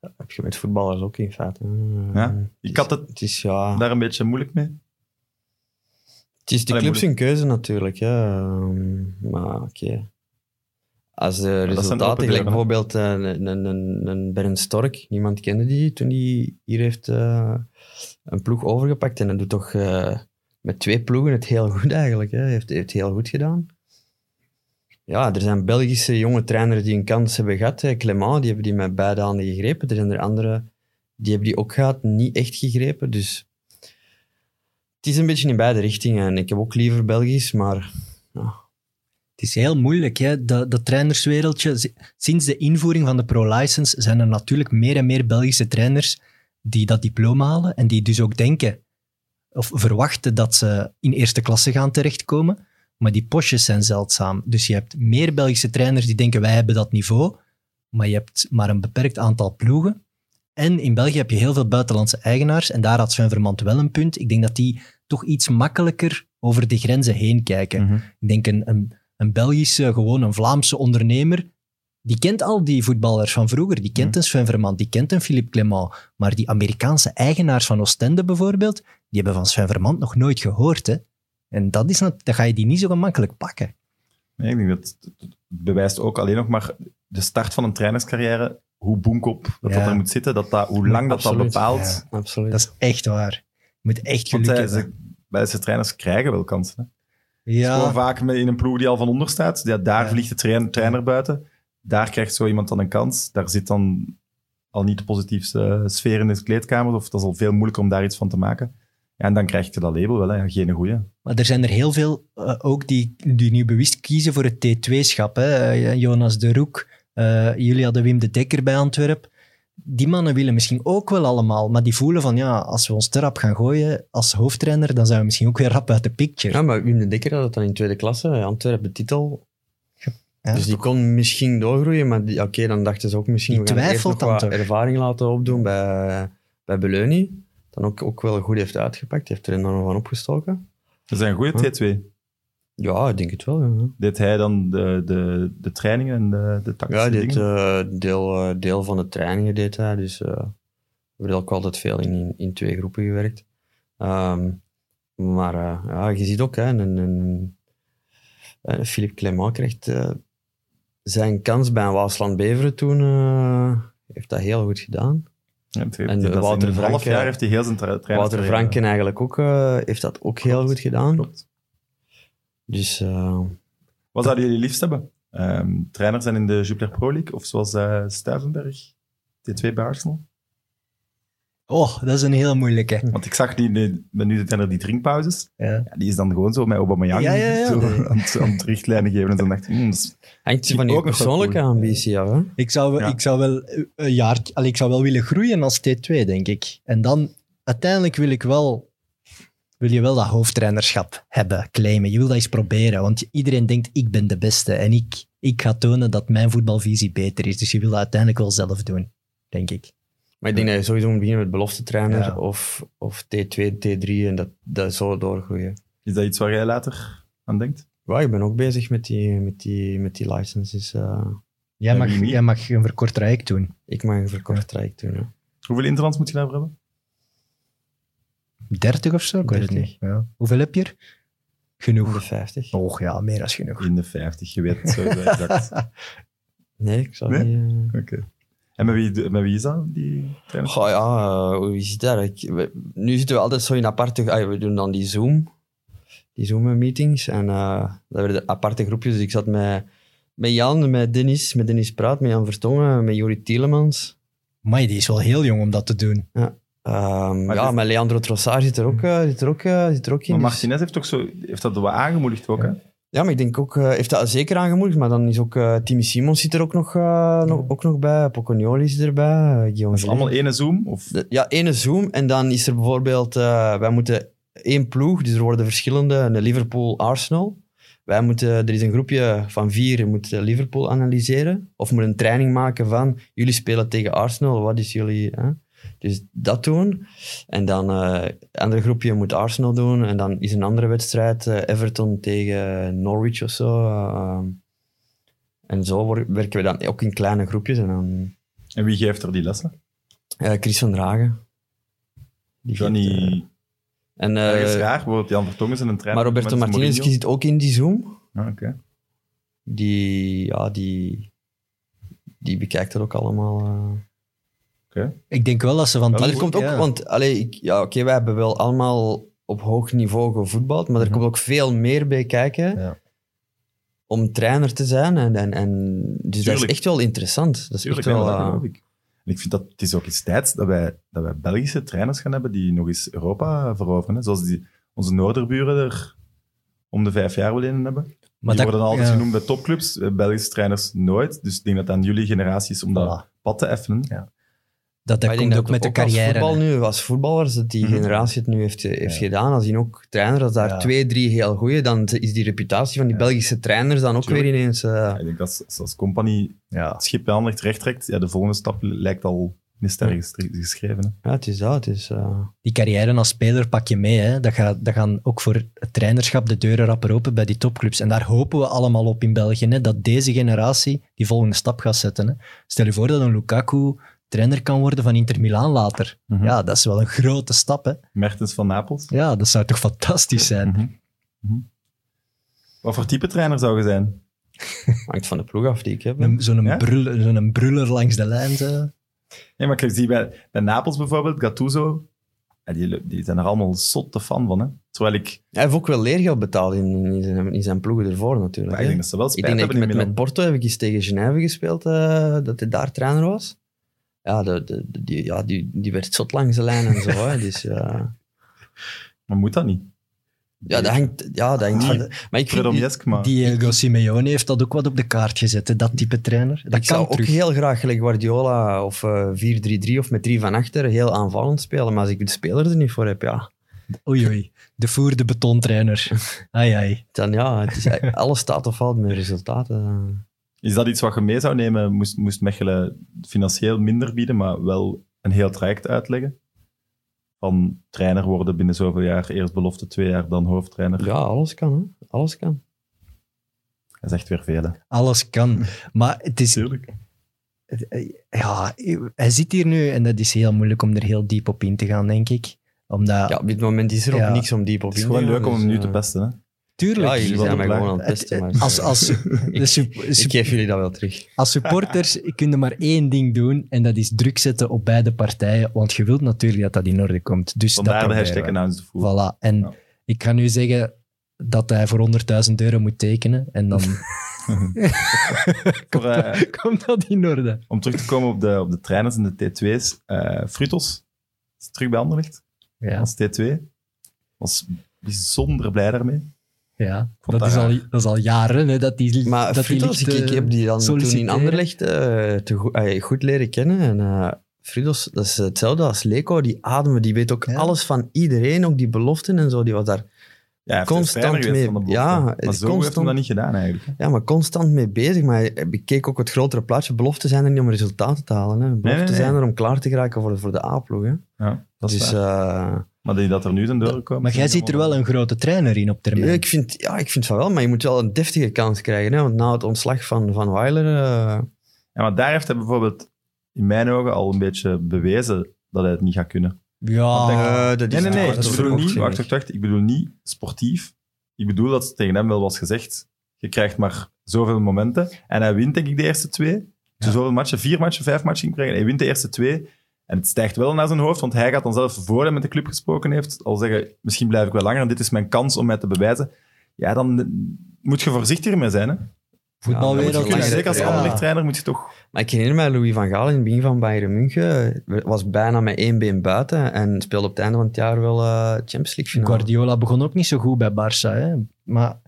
[SPEAKER 4] Dat heb je met voetballers ook in feite. Hmm.
[SPEAKER 2] Ja, Ik had het
[SPEAKER 4] Het is, ja...
[SPEAKER 2] daar een beetje moeilijk mee.
[SPEAKER 4] Het is de
[SPEAKER 2] Allee,
[SPEAKER 4] club zijn keuze natuurlijk, hè. Ehm, maar oké. Als de
[SPEAKER 2] zijn open
[SPEAKER 4] resultaten, gelijk
[SPEAKER 2] deuren, hè.
[SPEAKER 4] bijvoorbeeld eh, een, een, een, een Bernd Stork, niemand kende die toen hij hier heeft eh, een ploeg overgepakt. En dat doet toch eh, met twee ploegen het heel goed eigenlijk. Hè. Heeft, heeft heel goed gedaan. ja, er zijn Belgische jonge trainers die een kans hebben gehad. Hè. Clement, die hebben die met beide handen gegrepen. Er zijn er anderen die hebben die ook gehad, niet echt gegrepen. Dus het is een beetje in beide richtingen. En ik heb ook liever Belgisch, maar
[SPEAKER 3] Het is heel moeilijk, hè? Dat, dat trainerswereldje. Z- Sinds de invoering van de pro-license zijn er natuurlijk meer en meer Belgische trainers die dat diploma halen en die dus ook denken of verwachten dat ze in eerste klasse gaan terechtkomen. Maar die postjes zijn zeldzaam. Dus je hebt meer Belgische trainers die denken wij hebben dat niveau, maar je hebt maar een beperkt aantal ploegen. En in België heb je heel veel buitenlandse eigenaars en daar had Sven Vermand wel een punt. Ik denk dat die toch iets makkelijker over de grenzen heen kijken.
[SPEAKER 2] Mhm.
[SPEAKER 3] Ik denk een, een, een Belgische, gewoon een Vlaamse ondernemer. Die kent al die voetballers van vroeger. Die kent
[SPEAKER 2] Mhm.
[SPEAKER 3] een Sven Vermand, die kent een Philippe Clement. Maar die Amerikaanse eigenaars van Oostende bijvoorbeeld, die hebben van Sven Vermand nog nooit gehoord. Hè? En dat is nat- dan ga je die niet zo gemakkelijk pakken.
[SPEAKER 2] Nee, ik denk dat dat- dat bewijst ook alleen nog maar de start van een trainerscarrière, hoe boemkop dat
[SPEAKER 3] Ja.
[SPEAKER 2] dat er moet zitten, dat dat, hoe lang dat dat
[SPEAKER 4] Absoluut,
[SPEAKER 2] bepaalt.
[SPEAKER 4] absoluut.
[SPEAKER 3] Dat is echt waar. Je moet echt
[SPEAKER 2] Want
[SPEAKER 3] geluk
[SPEAKER 2] zij,
[SPEAKER 3] hebben.
[SPEAKER 2] ze, Belgische trainers krijgen wel kansen. hè. Het is
[SPEAKER 3] ja,
[SPEAKER 2] Gewoon vaak met- in een ploeg die al van onder staat. Ja, daar
[SPEAKER 3] Ja.
[SPEAKER 2] vliegt de train- trainer buiten. Daar krijgt zo iemand dan een kans. Daar zit dan al niet de positieve eh, sfeer in de kleedkamer. Of dat is al veel moeilijker om daar iets van te maken. Ja, en dan krijg je dat label wel. Hè. Geen goeie.
[SPEAKER 3] maar er zijn er heel veel eh, ook die, die nu bewust kiezen voor het T2-schap. Jonas de Roek, eh, jullie hadden Wim de Dekker bij Antwerp. Die mannen willen misschien ook wel allemaal, maar die voelen van ja, als we ons te rap gaan gooien als hoofdtrainer, dan zijn we misschien ook weer rap uit de picture.
[SPEAKER 4] Ja, maar Wim de Dekker had het dan in tweede klasse. eh, Antwerpen de titel.
[SPEAKER 3] Ja.
[SPEAKER 4] dus die kon misschien doorgroeien, maar die- oké, dan dachten ze ook misschien...
[SPEAKER 3] Die
[SPEAKER 4] we gaan eerst
[SPEAKER 3] twijfelt
[SPEAKER 4] nog
[SPEAKER 3] dan
[SPEAKER 4] wat
[SPEAKER 3] toch?
[SPEAKER 4] ervaring laten opdoen bij, bij Beleuni. Dan ook, ook wel goed heeft uitgepakt. Heeft er enorm van opgestoken.
[SPEAKER 2] Dat zijn goede
[SPEAKER 4] Huh?
[SPEAKER 2] T2.
[SPEAKER 4] Ja, ik denk het wel. Ja,
[SPEAKER 2] Deed hij dan de, de, de trainingen en de, de tactische
[SPEAKER 4] ja dit
[SPEAKER 2] dingen?
[SPEAKER 4] deel, eh, deel van de trainingen deed hij. Dus eh, we hebben ook altijd veel in, in, in twee groepen gewerkt. Ehm, maar eh, ja, je ziet ook, hè, een, een, een, eh, Philippe Clement krijgt eh, zijn kans bij een Waasland Beveren toen. eh, heeft dat heel goed gedaan.
[SPEAKER 2] Ja, het-
[SPEAKER 4] En
[SPEAKER 2] dat is
[SPEAKER 4] Wouter
[SPEAKER 2] in een half
[SPEAKER 4] Franke-
[SPEAKER 2] jaar heeft hij heel zijn tra- trainer.
[SPEAKER 4] Wouter Franken eigenlijk ook, eh, heeft dat ook heel goed gedaan.
[SPEAKER 2] Klopt.
[SPEAKER 4] Dus eh,
[SPEAKER 2] Wat zouden jullie liefst hebben? Ehm, trainers zijn in de Jupiler Pro League of zoals eh Stuivenberg, T2 bij Arsenal?
[SPEAKER 3] Oh, dat is een heel moeilijke.
[SPEAKER 2] Want ik zag die, die, ben nu de trainer die drinkpauzes.
[SPEAKER 3] Ja.
[SPEAKER 2] Ja, die is dan gewoon zo met Aubameyang
[SPEAKER 3] Ja, ja, ja.
[SPEAKER 2] zo aan, het- aan het richtlijnen geven. En dan dacht ik, hmm, dat is-
[SPEAKER 4] hangt je van
[SPEAKER 2] Ook
[SPEAKER 4] je
[SPEAKER 2] nog wel
[SPEAKER 4] persoonlijke
[SPEAKER 2] cool.
[SPEAKER 4] ambitie af. Hè?
[SPEAKER 3] Ik, zou,
[SPEAKER 2] Ja.
[SPEAKER 3] ik zou wel eh, een jaar, allee, ik zou wel willen groeien als T2, denk ik. En dan uiteindelijk wil ik wel, wil je wel dat hoofdtrainerschap hebben, claimen. Je wil dat eens proberen, want iedereen denkt ik ben de beste en ik, ik ga tonen dat mijn voetbalvisie beter is. Dus je wil dat uiteindelijk wel zelf doen, denk ik.
[SPEAKER 4] Maar ik denk dat je sowieso moet beginnen met belofte trainer
[SPEAKER 3] Ja.
[SPEAKER 4] of, of T2, T3 en dat, dat zo doorgroeien.
[SPEAKER 2] is dat iets waar jij later aan denkt?
[SPEAKER 4] Ja, ik ben ook bezig met die, met die, met die licenses. eh.
[SPEAKER 3] Jij
[SPEAKER 2] Ja,
[SPEAKER 3] mag,
[SPEAKER 2] wie niet?
[SPEAKER 3] jij mag een verkort traject doen.
[SPEAKER 4] ik mag een verkort traject doen. Ja.
[SPEAKER 2] Hoeveel interlands moet je daarvoor hebben?
[SPEAKER 3] 30 of zo? Ik weet het
[SPEAKER 4] 30.
[SPEAKER 3] niet. Ja. Hoeveel heb je er? Genoeg.
[SPEAKER 4] De 50.
[SPEAKER 3] Oh ja, meer dan genoeg.
[SPEAKER 2] In de 50, je weet het sowieso exact.
[SPEAKER 4] [laughs] Nee, ik zou
[SPEAKER 2] Nee?
[SPEAKER 4] niet... eh.
[SPEAKER 2] Oké. En met wie, met wie is dat, die trainer?
[SPEAKER 4] Goh, ja, eh, hoe is het daar? Ik- we- nu zitten we altijd zo in aparte... ah, we doen dan die Zoom. Die Zoom-meetings. En eh dat werden aparte groepjes. Dus ik zat met, met Jan, met Dennis, met Dennis Praat, met Jan Vertongen, met Jori Tielemans.
[SPEAKER 3] Maar die is wel heel jong om dat te doen.
[SPEAKER 4] Ehm,
[SPEAKER 2] Maar
[SPEAKER 4] ja,
[SPEAKER 2] dit-
[SPEAKER 4] met Leandro Trossard zit er ook, eh, zit er ook, eh, zit er ook in.
[SPEAKER 2] Maar
[SPEAKER 4] dus-
[SPEAKER 2] Martinez heeft, ook zo, heeft dat wel aangemoedigd ook, hè?
[SPEAKER 4] Ja, maar ik denk ook, eh, heeft dat zeker aangemoedigd, maar dan is ook eh, Timmy Simons zit er ook nog, eh, nog, ook nog bij, Pocognoli is erbij, eh, Guillaume
[SPEAKER 2] Dat is
[SPEAKER 4] Gilles.
[SPEAKER 2] allemaal ene Zoom? Of,
[SPEAKER 4] De- Ja, ene Zoom en dan is er bijvoorbeeld, eh, wij moeten één ploeg, dus er worden verschillende, een Liverpool-Arsenal. Wij moeten, er is een groepje van vier, je moet eh, Liverpool analyseren of moet een training maken van, jullie spelen tegen Arsenal, wat is jullie... Hè? Dus dat doen. En dan eh, een ander groepje moet Arsenal doen. En dan is een andere wedstrijd eh, Everton tegen Norwich of zo. eh, en zo wor- werken we dan ook in kleine groepjes. En dan
[SPEAKER 2] en wie geeft er die lessen?
[SPEAKER 4] eh, Chris van Dragen. Die geeft, eh,
[SPEAKER 2] Johnny...
[SPEAKER 4] en,
[SPEAKER 2] dat
[SPEAKER 4] eh,
[SPEAKER 2] is raar, bijvoorbeeld Jan Vertongen is een trainer.
[SPEAKER 4] maar Roberto
[SPEAKER 2] met
[SPEAKER 4] Martinez
[SPEAKER 2] Mourinho.
[SPEAKER 4] zit ook in die Zoom.
[SPEAKER 2] Ah, oké.
[SPEAKER 4] Die, ja, die, die bekijkt dat ook allemaal. eh.
[SPEAKER 3] Ik denk wel dat ze van
[SPEAKER 2] Ja,
[SPEAKER 4] Maar
[SPEAKER 3] die...
[SPEAKER 4] er komt ook,
[SPEAKER 3] ja.
[SPEAKER 4] want allee, ik, ja, oké, wij hebben wel allemaal op hoog niveau gevoetbald, maar er
[SPEAKER 3] Mhm.
[SPEAKER 4] komt ook veel meer bij kijken.
[SPEAKER 3] Ja.
[SPEAKER 4] om trainer te zijn. En, en, en, dus dat is
[SPEAKER 2] Tuurlijk.
[SPEAKER 4] echt wel interessant. Dat is
[SPEAKER 2] Tuurlijk,
[SPEAKER 4] echt wel...
[SPEAKER 2] ja, dat
[SPEAKER 4] eh,
[SPEAKER 2] geloof ik. En ik vind dat het is ook eens tijd dat wij, dat wij Belgische trainers gaan hebben die nog eens Europa veroveren. Hè? Zoals die, onze Noorderburen er om de vijf jaar wel een hebben.
[SPEAKER 3] Maar
[SPEAKER 2] die
[SPEAKER 3] dat-
[SPEAKER 2] worden altijd
[SPEAKER 3] ja.
[SPEAKER 2] genoemd bij topclubs, eh, Belgische trainers nooit. Dus ik denk dat het aan jullie generatie is om dat
[SPEAKER 3] Voilà.
[SPEAKER 2] pad te effenen.
[SPEAKER 3] Ja. Dat, dat
[SPEAKER 4] Maar ik denk
[SPEAKER 3] komt ook met de carrière.
[SPEAKER 4] Als, voetbal nu, als voetballers, dat die
[SPEAKER 2] Mhm.
[SPEAKER 4] generatie het nu heeft, eh, heeft gedaan, als die ook trainer, als daar
[SPEAKER 3] Ja.
[SPEAKER 4] twee, drie heel goeie, dan is die reputatie van die
[SPEAKER 2] Ja.
[SPEAKER 4] Belgische trainers dan ook
[SPEAKER 2] Tuurlijk.
[SPEAKER 4] weer ineens... eh,
[SPEAKER 2] Ik denk dat als, als compagnie
[SPEAKER 3] Ja.
[SPEAKER 2] het schip bij Anderlecht recht trekt, ja, de volgende stap lijkt al in de sterren gestre- geschreven. hè.
[SPEAKER 4] ja, het is dat, het is... eh,
[SPEAKER 3] Die carrière als speler pak je mee. Hè. Dat, gaat, dat gaan ook voor het trainerschap de deuren rapper open bij die topclubs. En daar hopen we allemaal op in België. Hè, dat deze generatie die volgende stap gaat zetten. Hè. Stel je voor dat een Lukaku trainer kan worden van Inter Milaan later.
[SPEAKER 2] Mhm.
[SPEAKER 3] Ja, dat is wel een grote stap. Hè.
[SPEAKER 2] Mertens van Napels.
[SPEAKER 3] Ja, dat zou toch fantastisch zijn.
[SPEAKER 2] Mhm. Mhm. Wat voor type trainer zou je zijn?
[SPEAKER 4] hangt van de ploeg af die ik heb. hè.
[SPEAKER 3] Een- Zo'n
[SPEAKER 2] Ja?
[SPEAKER 3] bruller, zo'n bruller langs de lijn. zo.
[SPEAKER 2] Ja, maar kijk, zie bij, bij Napels bijvoorbeeld, Gattuso, ja, die, die zijn er allemaal zotte fan van. Hè? Terwijl ik,
[SPEAKER 4] Hij heeft ook wel leergeld betaald in, in, zijn, in zijn ploegen ervoor
[SPEAKER 2] maar
[SPEAKER 4] natuurlijk.
[SPEAKER 2] ik
[SPEAKER 4] hè.
[SPEAKER 2] denk dat ze wel
[SPEAKER 4] Ik
[SPEAKER 2] spijt
[SPEAKER 4] denk dat
[SPEAKER 2] hebben
[SPEAKER 4] ik
[SPEAKER 2] in
[SPEAKER 4] met,
[SPEAKER 2] Milan.
[SPEAKER 4] met Porto heb ik eens tegen Genève gespeeld, eh, dat hij daar trainer was. Ja, de, de, de- die, ja die, die werd zot langs de lijn en zo. Hè. Dus, ja.
[SPEAKER 2] Maar moet dat niet?
[SPEAKER 4] ja, dat hangt, ja, dat
[SPEAKER 2] Ah,
[SPEAKER 4] hangt van de- Maar ik vind, [laughs] die-
[SPEAKER 2] Fredomiesk, maar...
[SPEAKER 3] Diego eh, Simeone heeft dat ook wat op de kaart gezet. Hè. Dat type trainer. Dat
[SPEAKER 4] ik
[SPEAKER 3] kan
[SPEAKER 4] zou
[SPEAKER 3] terug.
[SPEAKER 4] ook heel graag gelijk Guardiola of eh, 4-3-3 of met 3 van achter heel aanvallend spelen. Maar als ik de speler er niet voor heb, ja,
[SPEAKER 3] Oei, oei. De voer, de
[SPEAKER 4] [laughs]
[SPEAKER 3] betontrainer. Ai, ai.
[SPEAKER 4] dan ja, het is,
[SPEAKER 3] [laughs]
[SPEAKER 4] eigenlijk- alles staat of valt met resultaten.
[SPEAKER 2] Is dat iets wat je mee zou nemen? Moest, moest Mechelen financieel minder bieden, maar wel een heel traject uitleggen? Van trainer worden binnen zoveel jaar, eerst belofte twee jaar, dan hoofdtrainer.
[SPEAKER 4] Ja, alles kan, hè. Alles kan.
[SPEAKER 2] Dat is echt weer veel. hè.
[SPEAKER 3] Alles kan. Maar het is... eh, Ja, hij zit hier nu en dat is heel moeilijk om er heel diep op in te gaan, denk ik. Omdat...
[SPEAKER 4] Ja, op dit moment is er ook
[SPEAKER 3] Ja.
[SPEAKER 4] niks om diep op
[SPEAKER 2] Het is
[SPEAKER 4] in te
[SPEAKER 2] gewoon
[SPEAKER 4] gaan,
[SPEAKER 2] leuk om
[SPEAKER 4] dus,
[SPEAKER 2] hem nu
[SPEAKER 4] eh,
[SPEAKER 2] te pesten. Hè?
[SPEAKER 3] tuurlijk.
[SPEAKER 4] Ja, jullie
[SPEAKER 2] Wat
[SPEAKER 4] zijn mij
[SPEAKER 2] een
[SPEAKER 4] gewoon aan het
[SPEAKER 3] Het-
[SPEAKER 4] testen, maar... [laughs]
[SPEAKER 3] als, als, de
[SPEAKER 4] ik,
[SPEAKER 3] sup- sup-
[SPEAKER 4] ik geef jullie dat wel terug.
[SPEAKER 3] als supporters kunnen maar één ding doen en dat is druk zetten op beide partijen. Want je wilt natuurlijk dat dat in orde komt. Dus dat
[SPEAKER 2] Vandaar de
[SPEAKER 3] proberen
[SPEAKER 2] hashtag
[SPEAKER 3] we.
[SPEAKER 2] announce the fool.
[SPEAKER 3] Voilà. En
[SPEAKER 2] Ja.
[SPEAKER 3] ik ga nu zeggen dat hij voor 100.000 euro moet tekenen.
[SPEAKER 4] [laughs]
[SPEAKER 3] En dan
[SPEAKER 2] Voor, eh,
[SPEAKER 3] komt dat in orde.
[SPEAKER 2] om terug te komen op de, op de trainers en de T2's. eh Frutos is terug bij Anderlecht
[SPEAKER 3] Ja,
[SPEAKER 2] als T2. Was bijzonder blij daarmee.
[SPEAKER 3] ja.
[SPEAKER 2] vond
[SPEAKER 3] Dat,
[SPEAKER 2] dat
[SPEAKER 3] is al,
[SPEAKER 2] raar.
[SPEAKER 3] dat is al jaren hè, dat die
[SPEAKER 4] Maar
[SPEAKER 3] dat die
[SPEAKER 4] Frutos, ik,
[SPEAKER 3] ligt,
[SPEAKER 4] ik
[SPEAKER 3] eh,
[SPEAKER 4] heb die dan toen in
[SPEAKER 3] solliciteren.
[SPEAKER 4] Anderlecht eh, te goed, eh, goed leren kennen. En eh Frutos, dat is hetzelfde als Leko. Die ademen, die weet ook
[SPEAKER 3] Ja.
[SPEAKER 4] alles van iedereen. Ook die beloften en zo, die was daar
[SPEAKER 2] Ja, hij heeft
[SPEAKER 4] Constant
[SPEAKER 2] trainer geweest
[SPEAKER 4] mee-
[SPEAKER 2] van de belofte.
[SPEAKER 4] ja,
[SPEAKER 2] maar zo
[SPEAKER 4] het is
[SPEAKER 2] heeft hij
[SPEAKER 4] constant-
[SPEAKER 2] dat niet gedaan eigenlijk.
[SPEAKER 4] ja, maar constant mee bezig. Maar eh, ik keek ook het grotere plaatje. Beloften zijn er niet om resultaten te halen. Hè. Beloften
[SPEAKER 2] nee, nee.
[SPEAKER 4] zijn er om klaar te geraken voor, voor de A-ploeg. hè.
[SPEAKER 2] Ja, dat is
[SPEAKER 4] Dus
[SPEAKER 2] waar.
[SPEAKER 4] eh,
[SPEAKER 2] maar die dat er nu zijn doorgekomen.
[SPEAKER 3] Maar jij ziet er wel een grote trainer in op termijn.
[SPEAKER 4] ja, ik vind, ja, ik vind van wel. Maar je moet wel een deftige kans krijgen. Hè, want na het ontslag van, van Weiler... eh,
[SPEAKER 2] Ja, maar daar heeft hij bijvoorbeeld in mijn ogen al een beetje bewezen dat hij het niet gaat kunnen.
[SPEAKER 3] ja,
[SPEAKER 4] eh, dat
[SPEAKER 2] nee,
[SPEAKER 4] is
[SPEAKER 2] nee,
[SPEAKER 4] te
[SPEAKER 2] nee.
[SPEAKER 4] kort
[SPEAKER 2] Ik
[SPEAKER 4] door de
[SPEAKER 2] bedoel
[SPEAKER 4] bocht,
[SPEAKER 2] niet,
[SPEAKER 4] vind
[SPEAKER 2] wacht,
[SPEAKER 4] ik.
[SPEAKER 2] wacht, wacht. Ik bedoel niet sportief. Ik bedoel dat tegen hem wel was gezegd. Je krijgt maar zoveel momenten. En hij wint denk ik de eerste twee.
[SPEAKER 3] Ja.
[SPEAKER 2] Zoveel matchen, vier matchen, vijf matchen in brengen. Hij wint de eerste twee. En het stijgt wel naar zijn hoofd, want hij gaat dan zelf, voor hij met de club gesproken heeft, al zeggen, misschien blijf ik wel langer en dit is mijn kans om mij te bewijzen. Ja, dan eh, moet je voorzichtiger mee zijn. Hè? Dan moet je
[SPEAKER 4] Alweer
[SPEAKER 3] voetbalwereld.
[SPEAKER 4] dat
[SPEAKER 2] kunnen,
[SPEAKER 4] lang-
[SPEAKER 2] zeker als
[SPEAKER 4] ja.
[SPEAKER 2] anderlecht trainer moet je toch
[SPEAKER 4] Maar ik herinner mij Louis van Gaal in het begin van Bayern München. eh, Was bijna met één been buiten en speelde op het einde van het jaar wel eh, Champions League finale.
[SPEAKER 3] Guardiola begon ook niet zo goed bij Barça. Hè? Maar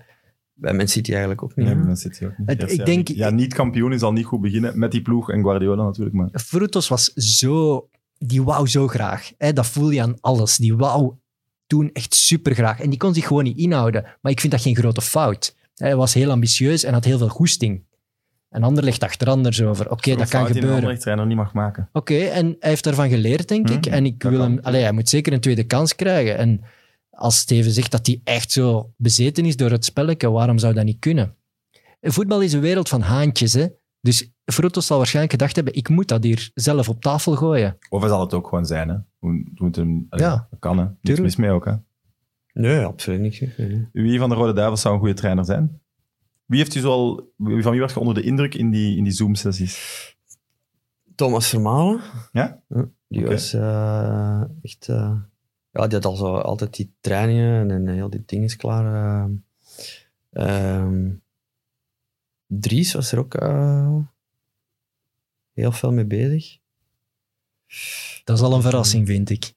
[SPEAKER 4] Bij Man City eigenlijk ook niet.
[SPEAKER 2] Nee,
[SPEAKER 4] hè?
[SPEAKER 2] bij Man City ook niet.
[SPEAKER 3] Het-
[SPEAKER 2] Eerste
[SPEAKER 3] ik
[SPEAKER 2] jaar
[SPEAKER 3] denk-
[SPEAKER 2] niet. Ja, niet kampioen is al niet goed beginnen. Met die ploeg en Guardiola natuurlijk. Maar
[SPEAKER 3] Frutos was zo... Die wou zo graag. Hè? Dat voel je aan alles. Die wou toen echt supergraag. En die kon zich gewoon niet inhouden. Maar ik vind dat geen grote fout. Hij was heel ambitieus en had heel veel goesting. En ander ligt achter anders over. Oké, dat kan
[SPEAKER 2] Die een
[SPEAKER 3] gebeuren.
[SPEAKER 2] andere trainer niet mag maken.
[SPEAKER 3] Oké, en hij heeft daarvan geleerd, denk ik.
[SPEAKER 2] Mhm,
[SPEAKER 3] En ik
[SPEAKER 2] dat
[SPEAKER 3] wil
[SPEAKER 2] kan.
[SPEAKER 3] hem, allee, hij moet zeker een tweede kans krijgen. En als Steven zegt dat hij echt zo bezeten is door het spelletje, waarom zou dat niet kunnen? Voetbal is een wereld van haantjes, hè. Dus Frotto zal waarschijnlijk gedacht hebben, ik moet dat hier zelf op tafel gooien.
[SPEAKER 2] Of hij zal het ook gewoon zijn. Hè. Hoe- hoe het hem, allee,
[SPEAKER 3] Ja.
[SPEAKER 2] dat kan hè. Niks
[SPEAKER 3] Tuurlijk.
[SPEAKER 2] mis mee ook. Hè.
[SPEAKER 4] Nee, absoluut niks. hè. Nee, nee.
[SPEAKER 2] Wie van de Rode Duivels zou een goede trainer zijn? Wie heeft u zoal, wie- van wie werd je onder de indruk in die, in die Zoom-sessies?
[SPEAKER 4] Thomas Vermalen.
[SPEAKER 2] Ja?
[SPEAKER 4] Die
[SPEAKER 2] Oké.
[SPEAKER 4] was eh, echt... eh, ja, die had al zo altijd die trainingen en heel die dingen klaar. eh. Ehm, Dries was er ook eh, heel veel mee bezig.
[SPEAKER 3] Dat is al een verrassing, vind ik.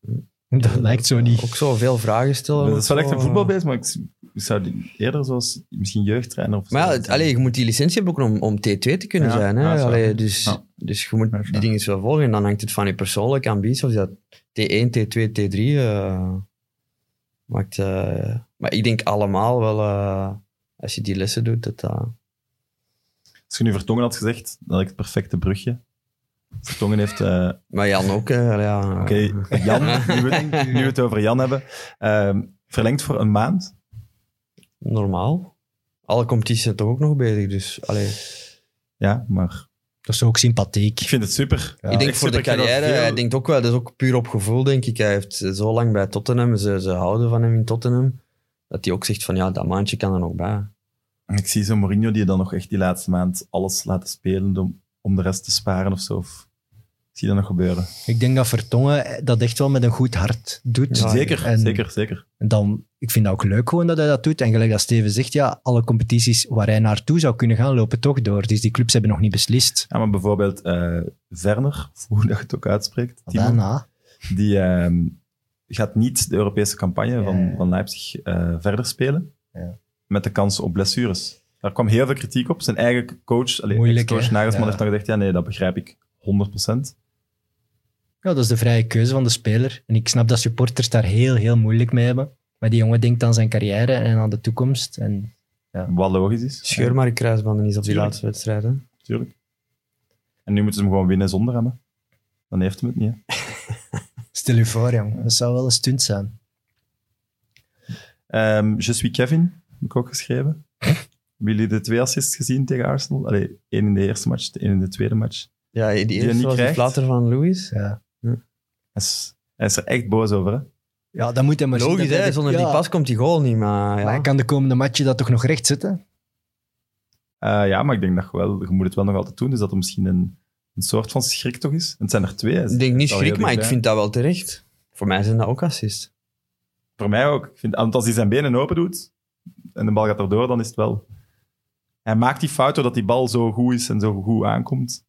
[SPEAKER 3] Dat lijkt zo niet.
[SPEAKER 4] Ook zo veel vragen stellen.
[SPEAKER 2] dat is wel
[SPEAKER 4] ook
[SPEAKER 2] echt een
[SPEAKER 4] zo.
[SPEAKER 2] voetbalbeest, maar ik s- ik zou die eerder zoals misschien jeugdtrainer of zo.
[SPEAKER 4] Maar ja, allee, je moet die licentie hebben ook om, om T2 te kunnen
[SPEAKER 2] Ja,
[SPEAKER 4] zijn. Hè?
[SPEAKER 2] ja, dat is waar.
[SPEAKER 4] Allee, dus,
[SPEAKER 2] Ja.
[SPEAKER 4] dus je moet
[SPEAKER 2] Dat is
[SPEAKER 4] die
[SPEAKER 2] waar.
[SPEAKER 4] dingen wel volgen. En dan hangt het van je persoonlijke ambitie. Of je dat T1, T2, T3 eh, maakt. eh, maar ik denk allemaal wel, eh, als je die lessen doet, dat dat...
[SPEAKER 2] Als je nu Vertongen had gezegd, dat ik het perfecte brugje. Vertongen heeft... eh,
[SPEAKER 4] Maar Jan ook, hè, allee, ja.
[SPEAKER 2] Oké,
[SPEAKER 4] [laughs]
[SPEAKER 2] Jan, nu we, nu we het over Jan hebben. ehm, verlengd voor een maand.
[SPEAKER 4] Normaal. Alle competities zijn toch ook nog bezig, dus... Allee.
[SPEAKER 2] Ja, maar
[SPEAKER 3] Dat is ook sympathiek.
[SPEAKER 2] ik vind het super. Ja,
[SPEAKER 4] ik denk
[SPEAKER 2] echt
[SPEAKER 4] voor de
[SPEAKER 2] super. Ik vind
[SPEAKER 4] carrière,
[SPEAKER 2] dat veel-
[SPEAKER 4] hij denkt ook wel, dat is ook puur op gevoel, denk ik. Hij heeft zo lang bij Tottenham, ze, ze houden van hem in Tottenham, dat hij ook zegt van, ja, dat maandje kan er nog bij.
[SPEAKER 2] Ik zie zo'n Mourinho die dan nog echt die laatste maand alles laten spelen om, om de rest te sparen of zo. Of, ik zie dat nog gebeuren.
[SPEAKER 3] Ik denk dat Vertongen dat echt wel met een goed hart doet.
[SPEAKER 4] Ja,
[SPEAKER 2] zeker,
[SPEAKER 3] en-
[SPEAKER 2] zeker, zeker.
[SPEAKER 3] En dan, ik vind dat ook leuk gewoon dat hij dat doet. En gelijk dat Steven zegt, ja, alle competities waar hij naartoe zou kunnen gaan, lopen toch door. Dus die clubs hebben nog niet beslist.
[SPEAKER 2] Ja, maar bijvoorbeeld eh Werner, [laughs] of hoe dat je het ook uitspreekt, Timo,
[SPEAKER 3] Daarna.
[SPEAKER 2] die ehm, gaat niet de Europese campagne van, van Leipzig eh, verder spelen.
[SPEAKER 1] Ja.
[SPEAKER 2] Met de kans op blessures. Daar kwam heel veel kritiek op. Zijn eigen coach, alleen
[SPEAKER 3] Moeilijk,
[SPEAKER 2] coach
[SPEAKER 3] hè?
[SPEAKER 2] Nagelsman,
[SPEAKER 3] Ja.
[SPEAKER 2] heeft dan gezegd, ja nee, dat begrijp ik 100%.
[SPEAKER 3] Ja, dat is de vrije keuze van de speler. En ik snap dat supporters daar heel, heel moeilijk mee hebben. Maar die jongen denkt aan zijn carrière en aan de toekomst. En
[SPEAKER 2] Wat logisch is.
[SPEAKER 4] Scheur maar je kruisbanden niet op die
[SPEAKER 2] Tuurlijk.
[SPEAKER 4] laatste wedstrijd. Hè.
[SPEAKER 2] Tuurlijk. En nu moeten ze hem gewoon winnen zonder hem. hè. Dan heeft hem het niet. hè.
[SPEAKER 3] stel je voor, jong. Dat zou wel een stunt zijn.
[SPEAKER 2] Ehm Je suis Kevin, heb ik ook geschreven. Hebben jullie de twee assists gezien tegen Arsenal? Allee, één in de eerste match, één in de tweede match.
[SPEAKER 4] Ja, die
[SPEAKER 2] hij niet
[SPEAKER 4] eerste was de
[SPEAKER 2] krijgt.
[SPEAKER 4] flater van Louis.
[SPEAKER 3] Ja,
[SPEAKER 2] Hij is, hij is er echt boos over. Hè?
[SPEAKER 3] ja dan moet hij maar zien
[SPEAKER 4] Logisch,
[SPEAKER 3] dat hij
[SPEAKER 4] hè?
[SPEAKER 3] dit-
[SPEAKER 4] zonder
[SPEAKER 3] ja,
[SPEAKER 4] die pas komt die goal niet, maar, ja.
[SPEAKER 3] Maar hij kan de komende matje dat toch nog recht zetten?
[SPEAKER 2] Eh, ja, maar ik denk dat je wel, je moet het wel nog altijd doen. Dus dat er misschien een, een soort van schrik toch is. En het zijn er twee. hè.
[SPEAKER 4] Ik denk niet
[SPEAKER 2] Dat is al
[SPEAKER 4] schrik,
[SPEAKER 2] heel
[SPEAKER 4] maar ik
[SPEAKER 2] dichtbij.
[SPEAKER 4] vind dat wel terecht. Voor mij zijn dat ook assist.
[SPEAKER 2] Voor mij ook. Ik vind, want als hij zijn benen open doet en de bal gaat erdoor, dan is het wel... Hij maakt die fout doordat die bal zo goed is en zo goed aankomt.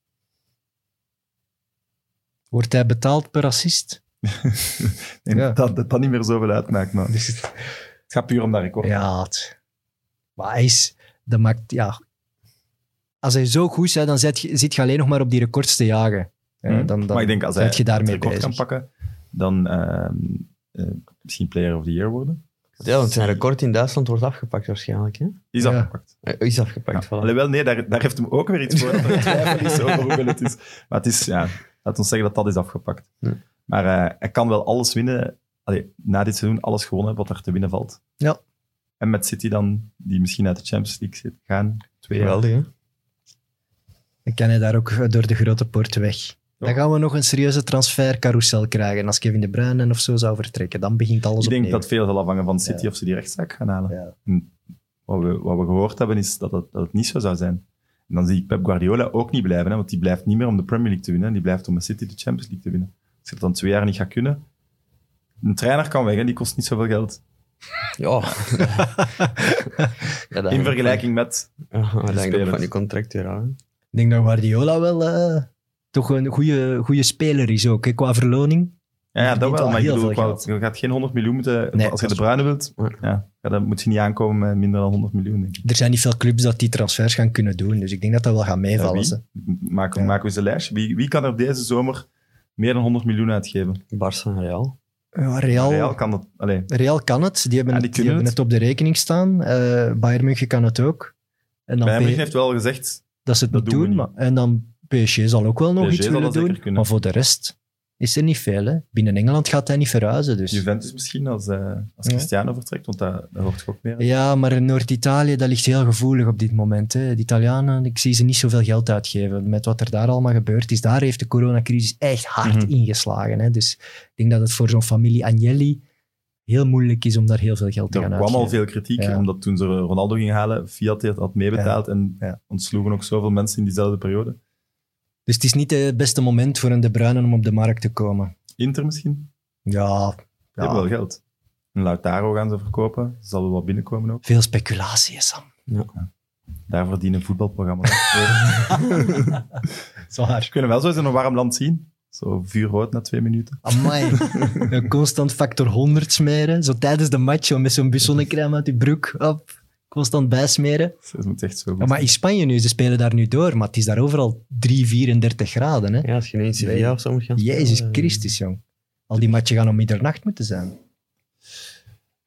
[SPEAKER 3] Wordt hij betaald per assist?
[SPEAKER 2] [laughs] Ik denk
[SPEAKER 3] Ja.
[SPEAKER 2] dat, dat dat niet meer zoveel uitmaakt. Maar
[SPEAKER 3] Dus
[SPEAKER 2] het gaat puur om dat record.
[SPEAKER 3] Ja, het- maar hij is... Dat maakt, ja... Als hij zo goed is, hè, dan zit je, zit je alleen nog maar op die records te jagen. Ja,
[SPEAKER 2] Hm?
[SPEAKER 3] dan, dan
[SPEAKER 2] maar ik denk als hij
[SPEAKER 3] ben je daarmee
[SPEAKER 2] het record kan
[SPEAKER 3] bezig.
[SPEAKER 2] pakken, dan ehm, eh, misschien player of the year worden.
[SPEAKER 4] Ja, want zijn record in Duitsland wordt afgepakt waarschijnlijk. Hè?
[SPEAKER 2] Die is
[SPEAKER 3] Ja.
[SPEAKER 2] afgepakt.
[SPEAKER 4] Eh, Is afgepakt,
[SPEAKER 2] Ja.
[SPEAKER 4] voilà.
[SPEAKER 2] Alhoewel, nee, daar, daar heeft hem ook weer
[SPEAKER 3] [laughs]
[SPEAKER 2] iets voor. Dat er twijfel is over hoeveel het is. Maar het is, ja, laat ons zeggen dat dat is afgepakt.
[SPEAKER 4] Ja.
[SPEAKER 2] Maar eh, hij kan wel alles winnen. Allee, na dit seizoen alles gewonnen wat er te winnen valt.
[SPEAKER 3] Ja.
[SPEAKER 2] En met City dan, die misschien uit de Champions League zit, gaan. Twee jaar. [laughs]
[SPEAKER 4] Geweldig, hè?
[SPEAKER 3] Dan kan hij daar ook eh, door de grote poort weg. Dan
[SPEAKER 2] Ja.
[SPEAKER 3] gaan we nog een serieuze transfercarousel krijgen. Als Kevin De Bruyne of zo zou vertrekken, dan begint alles
[SPEAKER 2] Ik denk
[SPEAKER 3] opnieuw.
[SPEAKER 2] dat veel zal afhangen van City of ze die rechtszaak gaan halen.
[SPEAKER 3] Ja.
[SPEAKER 2] En Wat, we, wat we gehoord hebben is dat het, dat het niet zo zou zijn. En dan zie ik Pep Guardiola ook niet blijven, hè, want die blijft niet meer om de Premier League te winnen. Die blijft om met City de Champions League te winnen. Als je dat dan twee jaar niet gaat kunnen. Een trainer kan weg, hè, die kost niet zoveel geld.
[SPEAKER 4] Ja. Ja,
[SPEAKER 2] In
[SPEAKER 4] dat hangt
[SPEAKER 2] vergelijking met.
[SPEAKER 4] van- Ja, dat hangt ook
[SPEAKER 2] spelers.
[SPEAKER 4] van die contract weer aan.
[SPEAKER 3] Ik denk dat Guardiola wel eh, toch een goede, goede speler is ook, hè, qua verloning.
[SPEAKER 2] Ja, ja,
[SPEAKER 3] Die
[SPEAKER 2] dat
[SPEAKER 3] verdient
[SPEAKER 2] wel,
[SPEAKER 3] al
[SPEAKER 2] maar ik
[SPEAKER 3] heel
[SPEAKER 2] bedoel,
[SPEAKER 3] veel
[SPEAKER 2] qua-
[SPEAKER 3] geld.
[SPEAKER 2] je gaat geen 100 miljoen moeten.
[SPEAKER 3] Nee,
[SPEAKER 2] als je
[SPEAKER 3] dat
[SPEAKER 2] de
[SPEAKER 3] is-
[SPEAKER 2] bruine wilt,
[SPEAKER 4] Ja.
[SPEAKER 2] ja, ja, dan moet je niet aankomen met minder dan 100 miljoen. Denk ik.
[SPEAKER 3] Er zijn niet veel clubs dat die transfers gaan kunnen doen. Dus ik denk dat dat wel gaat
[SPEAKER 2] Ja,
[SPEAKER 3] meevallen.
[SPEAKER 2] wie?
[SPEAKER 3] ze.
[SPEAKER 2] Maken,
[SPEAKER 3] Ja.
[SPEAKER 2] maken we eens een lijstje. Wie, wie kan er deze zomer meer dan 100 miljoen uitgeven?
[SPEAKER 4] Barça en Real.
[SPEAKER 3] Ja, Real,
[SPEAKER 2] Real
[SPEAKER 3] Real.
[SPEAKER 2] kan dat. Allee,
[SPEAKER 3] kan het. Die hebben,
[SPEAKER 2] Ja, die
[SPEAKER 3] het,
[SPEAKER 2] kunnen
[SPEAKER 3] die hebben
[SPEAKER 2] het.
[SPEAKER 3] het op de rekening staan. Eh Bayern München kan het ook. En dan
[SPEAKER 2] Bayern
[SPEAKER 3] P-
[SPEAKER 2] München heeft wel gezegd
[SPEAKER 3] dat ze het
[SPEAKER 2] dat
[SPEAKER 3] niet
[SPEAKER 2] doen we
[SPEAKER 3] doen. Maar, en dan PSG zal ook wel nog
[SPEAKER 2] PSG
[SPEAKER 3] iets
[SPEAKER 2] zal
[SPEAKER 3] willen
[SPEAKER 2] dat zeker
[SPEAKER 3] doen.
[SPEAKER 2] kunnen.
[SPEAKER 3] Maar voor de rest is er niet veel. Hè. Binnen Engeland gaat hij niet verhuizen. Dus.
[SPEAKER 2] Juventus misschien als, eh, als
[SPEAKER 3] Ja.
[SPEAKER 2] Cristiano vertrekt, want daar, daar hoort je ook meer.
[SPEAKER 3] Ja, maar in Noord-Italië, dat ligt heel gevoelig op dit moment. Hè. De Italianen, ik zie ze niet zoveel geld uitgeven. Met wat er daar allemaal gebeurd is, daar heeft de coronacrisis echt hard
[SPEAKER 2] Mhm.
[SPEAKER 3] ingeslagen. Hè. Dus ik denk dat het voor zo'n familie Agnelli heel moeilijk is om daar heel veel geld te
[SPEAKER 2] Er
[SPEAKER 3] gaan
[SPEAKER 2] kwam
[SPEAKER 3] uitgeven.
[SPEAKER 2] al veel kritiek,
[SPEAKER 3] Ja.
[SPEAKER 2] omdat toen ze Ronaldo gingen halen, Fiat heeft- had meebetaald en
[SPEAKER 3] Ja.
[SPEAKER 2] ontsloegen ook zoveel mensen in diezelfde periode.
[SPEAKER 3] Dus het is niet het beste moment voor een De Bruyne om op de markt te komen.
[SPEAKER 2] Inter misschien,
[SPEAKER 3] Ja,
[SPEAKER 2] die
[SPEAKER 3] ja,
[SPEAKER 2] hebben wel geld. En Lautaro gaan ze verkopen, zal wel wat binnenkomen ook.
[SPEAKER 3] veel speculatie, hè, Sam.
[SPEAKER 2] Daarvoor dient een voetbalprogramma. [laughs]
[SPEAKER 3] Zwaar.
[SPEAKER 2] We kunnen wel zo eens in een warm land zien. Zo vuurrood na twee minuten.
[SPEAKER 3] Amai. Een constant factor 100 smeren. Zo tijdens de match, zo met zo'n bussonnecrème uit je broek. Op. Constant bijsmeren.
[SPEAKER 2] Dus Het moet echt zo goed
[SPEAKER 3] Ja, maar
[SPEAKER 2] zijn.
[SPEAKER 3] in Spanje nu, ze spelen daar nu door, maar het is daar overal 3, 34 graden. Hè?
[SPEAKER 4] Ja, als je ineens in
[SPEAKER 3] Nee.
[SPEAKER 4] Sevilla of zo moet gaan.
[SPEAKER 3] Jezus
[SPEAKER 4] spelen, eh,
[SPEAKER 3] Christus, jong. Al die matchen gaan om middernacht moeten zijn.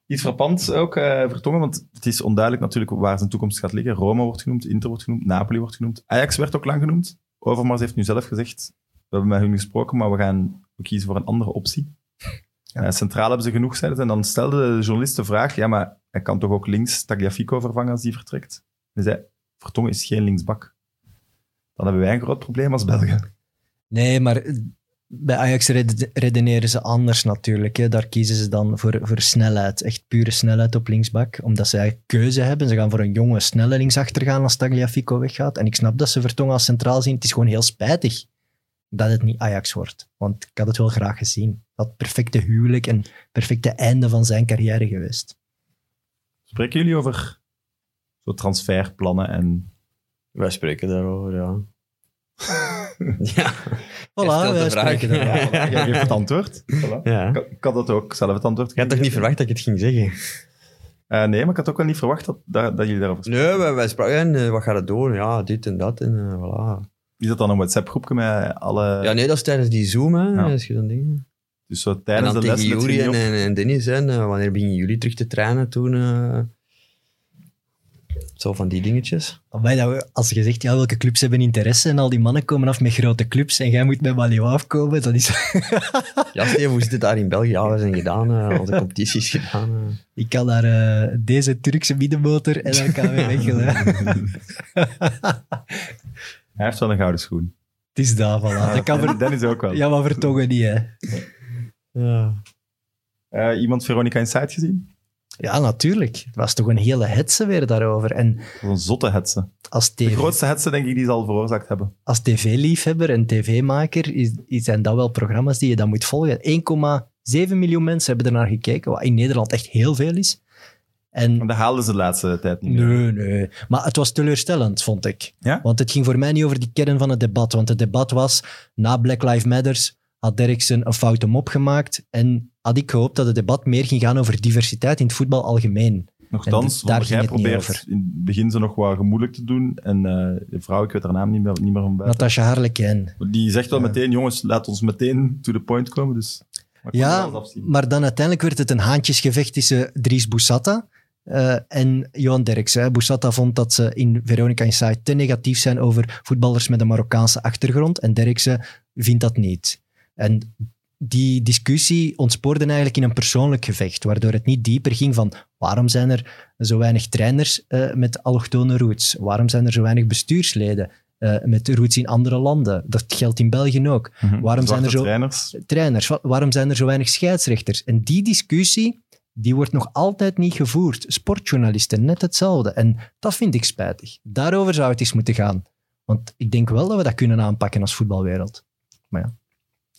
[SPEAKER 2] Iets frappants ook, eh, Vertongen, want het is onduidelijk natuurlijk waar zijn toekomst gaat liggen. Roma wordt genoemd, Inter wordt genoemd, Napoli wordt genoemd. Ajax werd ook lang genoemd. Overmars heeft nu zelf gezegd, we hebben met hun gesproken, maar we gaan we kiezen voor een andere optie. Eh, centraal hebben ze genoeg, zeiden ze. En dan stelde de journalist de vraag, ja, maar hij kan toch ook links Tagliafico vervangen als die vertrekt? Hij zei, Vertongen is geen linksbak. Dan hebben wij een groot probleem als Belgen.
[SPEAKER 3] Nee, maar eh, bij Ajax rede- redeneren ze anders natuurlijk. Hè. Daar kiezen ze dan voor, voor snelheid. Echt pure snelheid op linksbak. Omdat ze eigenlijk keuze hebben. Ze gaan voor een jonge, snelle linksachter gaan als Tagliafico weggaat. En ik snap dat ze Vertongen als centraal zien. Het is gewoon heel spijtig dat het niet Ajax wordt. Want ik had het wel graag gezien. Dat perfecte huwelijk en perfecte einde van zijn carrière geweest.
[SPEAKER 2] Spreken jullie over zo transferplannen en [laughs]
[SPEAKER 4] eh. Wij spreken daarover, ja. [laughs] ja.
[SPEAKER 3] Voilà,
[SPEAKER 4] stelt de
[SPEAKER 3] wij
[SPEAKER 4] vraag.
[SPEAKER 3] spreken
[SPEAKER 4] [laughs]
[SPEAKER 3] daarover.
[SPEAKER 2] Ja, jij geeft het antwoord.
[SPEAKER 4] ja.
[SPEAKER 2] Ik, had- ik had dat ook zelf het antwoord.
[SPEAKER 4] Je had toch niet verwacht dat ik het ging zeggen?
[SPEAKER 2] Eh, nee, maar ik had ook wel niet verwacht dat, dat, dat jullie daarover spraken.
[SPEAKER 4] Nee, wij, wij spraken, en, eh, wat gaat het doen? Ja, dit en dat en eh, voilà.
[SPEAKER 2] Is dat dan een WhatsApp-groepje met alle...
[SPEAKER 4] Ja, nee, dat is tijdens die Zoom, hè.
[SPEAKER 2] Ja.
[SPEAKER 4] Als je dan dingen.
[SPEAKER 2] Dus zo
[SPEAKER 4] En
[SPEAKER 2] tijdens
[SPEAKER 4] dan
[SPEAKER 2] de les...
[SPEAKER 4] tegen
[SPEAKER 2] let je
[SPEAKER 4] Juri
[SPEAKER 2] niet
[SPEAKER 4] en,
[SPEAKER 2] op.
[SPEAKER 4] en, en Dennis, hè. en, eh, wanneer beginnen jullie terug te trainen toen? eh, zo van die dingetjes.
[SPEAKER 3] Amai, dat we- als je zegt, ja, welke clubs hebben interesse en al die mannen komen af met grote clubs en jij moet met Malio afkomen, dat is...
[SPEAKER 4] Ja, Steve, hoe zit het daar in België? Ja, we zijn gedaan, eh, onze competities gedaan. eh.
[SPEAKER 3] Ik kan naar eh, deze Turkse middenmotor en dan kan we [laughs] weggelen. eh,
[SPEAKER 2] Hij heeft wel een gouden schoen.
[SPEAKER 3] Het is daar, voilà. Dat kan
[SPEAKER 2] En
[SPEAKER 3] ver...
[SPEAKER 2] Dennis ook wel.
[SPEAKER 3] [laughs] Ja, maar vertongen niet, hè.
[SPEAKER 4] Ja.
[SPEAKER 2] Eh, iemand Veronica Inside gezien?
[SPEAKER 3] Ja, natuurlijk. Het was toch een hele hetze weer daarover. En
[SPEAKER 2] Dat is een zotte hetze.
[SPEAKER 3] als,
[SPEAKER 2] De
[SPEAKER 3] TV
[SPEAKER 2] grootste hetze, denk ik, die ze al veroorzaakt hebben.
[SPEAKER 3] als tv-liefhebber en tv-maker is, is- zijn dat wel programma's die je dan moet volgen. 1,7 miljoen mensen hebben ernaar gekeken, wat in Nederland echt heel veel is. En
[SPEAKER 2] Maar dat haalden ze de laatste tijd niet meer.
[SPEAKER 3] Nee, nee. Maar het was teleurstellend, vond ik.
[SPEAKER 2] Ja?
[SPEAKER 3] Want het ging voor mij niet over die kern van het debat. Want het debat was, na Black Lives Matters had Derksen een foute mop gemaakt. En had ik gehoopt dat het debat meer ging gaan over diversiteit in het voetbal algemeen.
[SPEAKER 2] Nochtans,
[SPEAKER 3] En daar
[SPEAKER 2] want
[SPEAKER 3] ging
[SPEAKER 2] jij
[SPEAKER 3] het niet
[SPEAKER 2] probeert
[SPEAKER 3] over.
[SPEAKER 2] in het begin ze nog wat gemoeilijk te doen. En eh, de vrouw, ik weet haar naam niet meer, niet meer van buiten.
[SPEAKER 3] Natasja Harlekijn.
[SPEAKER 2] Die zegt wel
[SPEAKER 3] Ja.
[SPEAKER 2] meteen, jongens, laat ons meteen to the point komen. Dus, maar ik kon er
[SPEAKER 3] Ja,
[SPEAKER 2] wel eens afzien.
[SPEAKER 3] maar dan uiteindelijk werd het een haantjesgevecht tussen Dries Boussata eh, en Johan Derksen. hè. Boussata vond dat ze in Veronica Inside te negatief zijn over voetballers met een Marokkaanse achtergrond. En Derksen vindt dat niet. En die discussie ontspoorde eigenlijk in een persoonlijk gevecht, waardoor het niet dieper ging van waarom zijn er zo weinig trainers eh, met allochtone roots? Waarom zijn er zo weinig bestuursleden eh, met roots in andere landen? Dat geldt in België ook
[SPEAKER 2] Mhm.
[SPEAKER 3] waarom zijn
[SPEAKER 2] Zwarte
[SPEAKER 3] er zo-
[SPEAKER 2] trainers?
[SPEAKER 3] trainers? Wa- Waarom zijn er zo weinig scheidsrechters? En die discussie die wordt nog altijd niet gevoerd. Sportjournalisten, net hetzelfde. En dat vind ik spijtig. Daarover zou het eens moeten gaan. Want ik denk wel dat we dat kunnen aanpakken als voetbalwereld. Maar ja.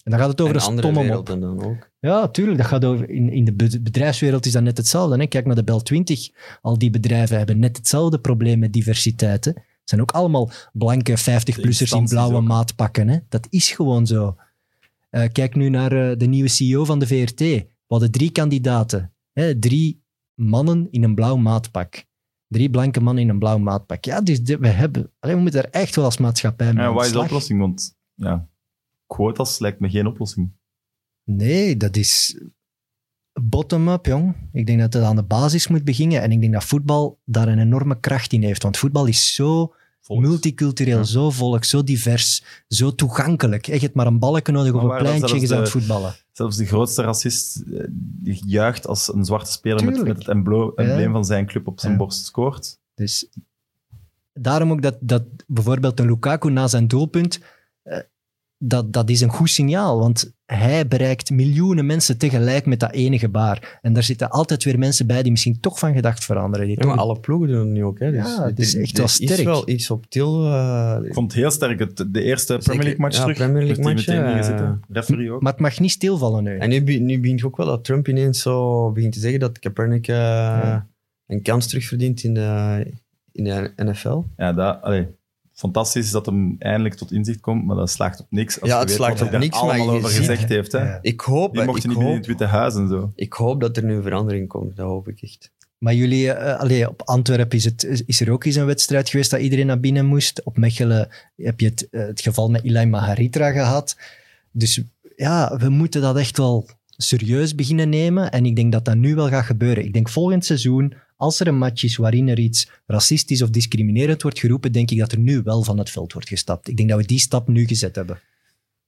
[SPEAKER 3] En dan gaat het over
[SPEAKER 4] En
[SPEAKER 3] een
[SPEAKER 4] andere
[SPEAKER 3] stomme mop.
[SPEAKER 4] werelden dan ook.
[SPEAKER 3] Ja, tuurlijk. Dat gaat over, in, in de be- bedrijfswereld is dat net hetzelfde. Hè? Kijk naar de Bel 20. Al die bedrijven hebben net hetzelfde probleem met diversiteit. hè. Het zijn ook allemaal blanke 50-plussers in
[SPEAKER 2] instanties
[SPEAKER 3] blauwe
[SPEAKER 2] ook.
[SPEAKER 3] maatpakken. Hè? Dat is gewoon zo. Eh, kijk nu naar eh, de nieuwe CEO van de VRT. We hadden drie kandidaten. Hè? Drie mannen in een blauw maatpak. Drie blanke mannen in een blauw maatpak. Ja, dus de- we, hebben, allee, we moeten daar echt wel als maatschappij mee
[SPEAKER 2] Ja,
[SPEAKER 3] aan
[SPEAKER 2] wat is de
[SPEAKER 3] slag.
[SPEAKER 2] oplossing? Want ja, quotas lijkt me geen oplossing.
[SPEAKER 3] Nee, dat is bottom-up, jong. Ik denk dat het aan de basis moet beginnen. En ik denk dat voetbal daar een enorme kracht in heeft. Want voetbal is zo
[SPEAKER 2] Volgens.
[SPEAKER 3] multicultureel,
[SPEAKER 2] Ja.
[SPEAKER 3] zo volk, zo divers, zo toegankelijk. Echt, Je hebt maar een balken nodig
[SPEAKER 2] Maar
[SPEAKER 3] op een
[SPEAKER 2] waar dan
[SPEAKER 3] pleintje, je
[SPEAKER 2] zelfs
[SPEAKER 3] bent aan het
[SPEAKER 2] de-
[SPEAKER 3] voetballen.
[SPEAKER 2] Zelfs de grootste racist eh, die juicht als een zwarte speler met,
[SPEAKER 3] Tuurlijk.
[SPEAKER 2] met het emblo-
[SPEAKER 3] Ja.
[SPEAKER 2] embleem van zijn club op zijn
[SPEAKER 3] Ja.
[SPEAKER 2] borst scoort.
[SPEAKER 3] Dus daarom ook dat, dat bijvoorbeeld een Lukaku na zijn doelpunt, eh, dat, dat is een goed signaal, want hij bereikt miljoenen mensen tegelijk met dat ene gebaar. En daar zitten altijd weer mensen bij die misschien toch van gedacht veranderen. Die
[SPEAKER 4] Ja, maar
[SPEAKER 3] toch-
[SPEAKER 4] alle ploegen doen het nu ook. Hè. Dus
[SPEAKER 3] Ja, het is
[SPEAKER 4] er-
[SPEAKER 3] echt wel
[SPEAKER 4] Er
[SPEAKER 3] sterk.
[SPEAKER 4] is wel iets op til. eh,
[SPEAKER 2] Ik vond het heel sterk het, de eerste
[SPEAKER 4] Zeker.
[SPEAKER 2] Premier League match
[SPEAKER 4] Ja,
[SPEAKER 2] terug.
[SPEAKER 4] Premier League
[SPEAKER 2] werd die
[SPEAKER 4] match,
[SPEAKER 2] meteen
[SPEAKER 4] ja.
[SPEAKER 2] erin zitten. Referee ook.
[SPEAKER 3] maar het mag niet stilvallen nu.
[SPEAKER 4] en nu, be- nu begint ook wel dat Trump ineens zo begint te zeggen dat Kaepernick eh, een kans terugverdient in de, in de NFL.
[SPEAKER 2] Ja, dat, allee, fantastisch dat hem eindelijk tot inzicht komt, maar dat slaagt op niks. Als
[SPEAKER 4] Ja,
[SPEAKER 2] je
[SPEAKER 4] het
[SPEAKER 2] weet
[SPEAKER 4] slaagt
[SPEAKER 2] wat
[SPEAKER 4] op
[SPEAKER 2] hij daar
[SPEAKER 4] niks, maar
[SPEAKER 2] allemaal
[SPEAKER 4] je
[SPEAKER 2] over
[SPEAKER 4] ziet-
[SPEAKER 2] gezegd heeft. Hè.
[SPEAKER 3] Ja.
[SPEAKER 4] Ik hoop,
[SPEAKER 2] Die
[SPEAKER 4] ik
[SPEAKER 2] mochten niet meer in
[SPEAKER 4] hoop,
[SPEAKER 2] het Witte Huis en zo.
[SPEAKER 4] ik hoop dat er nu verandering komt. Dat hoop ik echt.
[SPEAKER 3] Maar jullie, eh, allee, op Antwerpen is, het, is er ook eens een wedstrijd geweest dat iedereen naar binnen moest. Op Mechelen heb je het, eh, het geval met Ilay Maharitra gehad. Dus ja, we moeten dat echt wel serieus beginnen nemen. En ik denk dat dat nu wel gaat gebeuren. Ik denk volgend seizoen, als er een match is waarin er iets racistisch of discriminerend wordt geroepen, denk ik dat er nu wel van het veld wordt gestapt. Ik denk dat we die stap nu gezet hebben.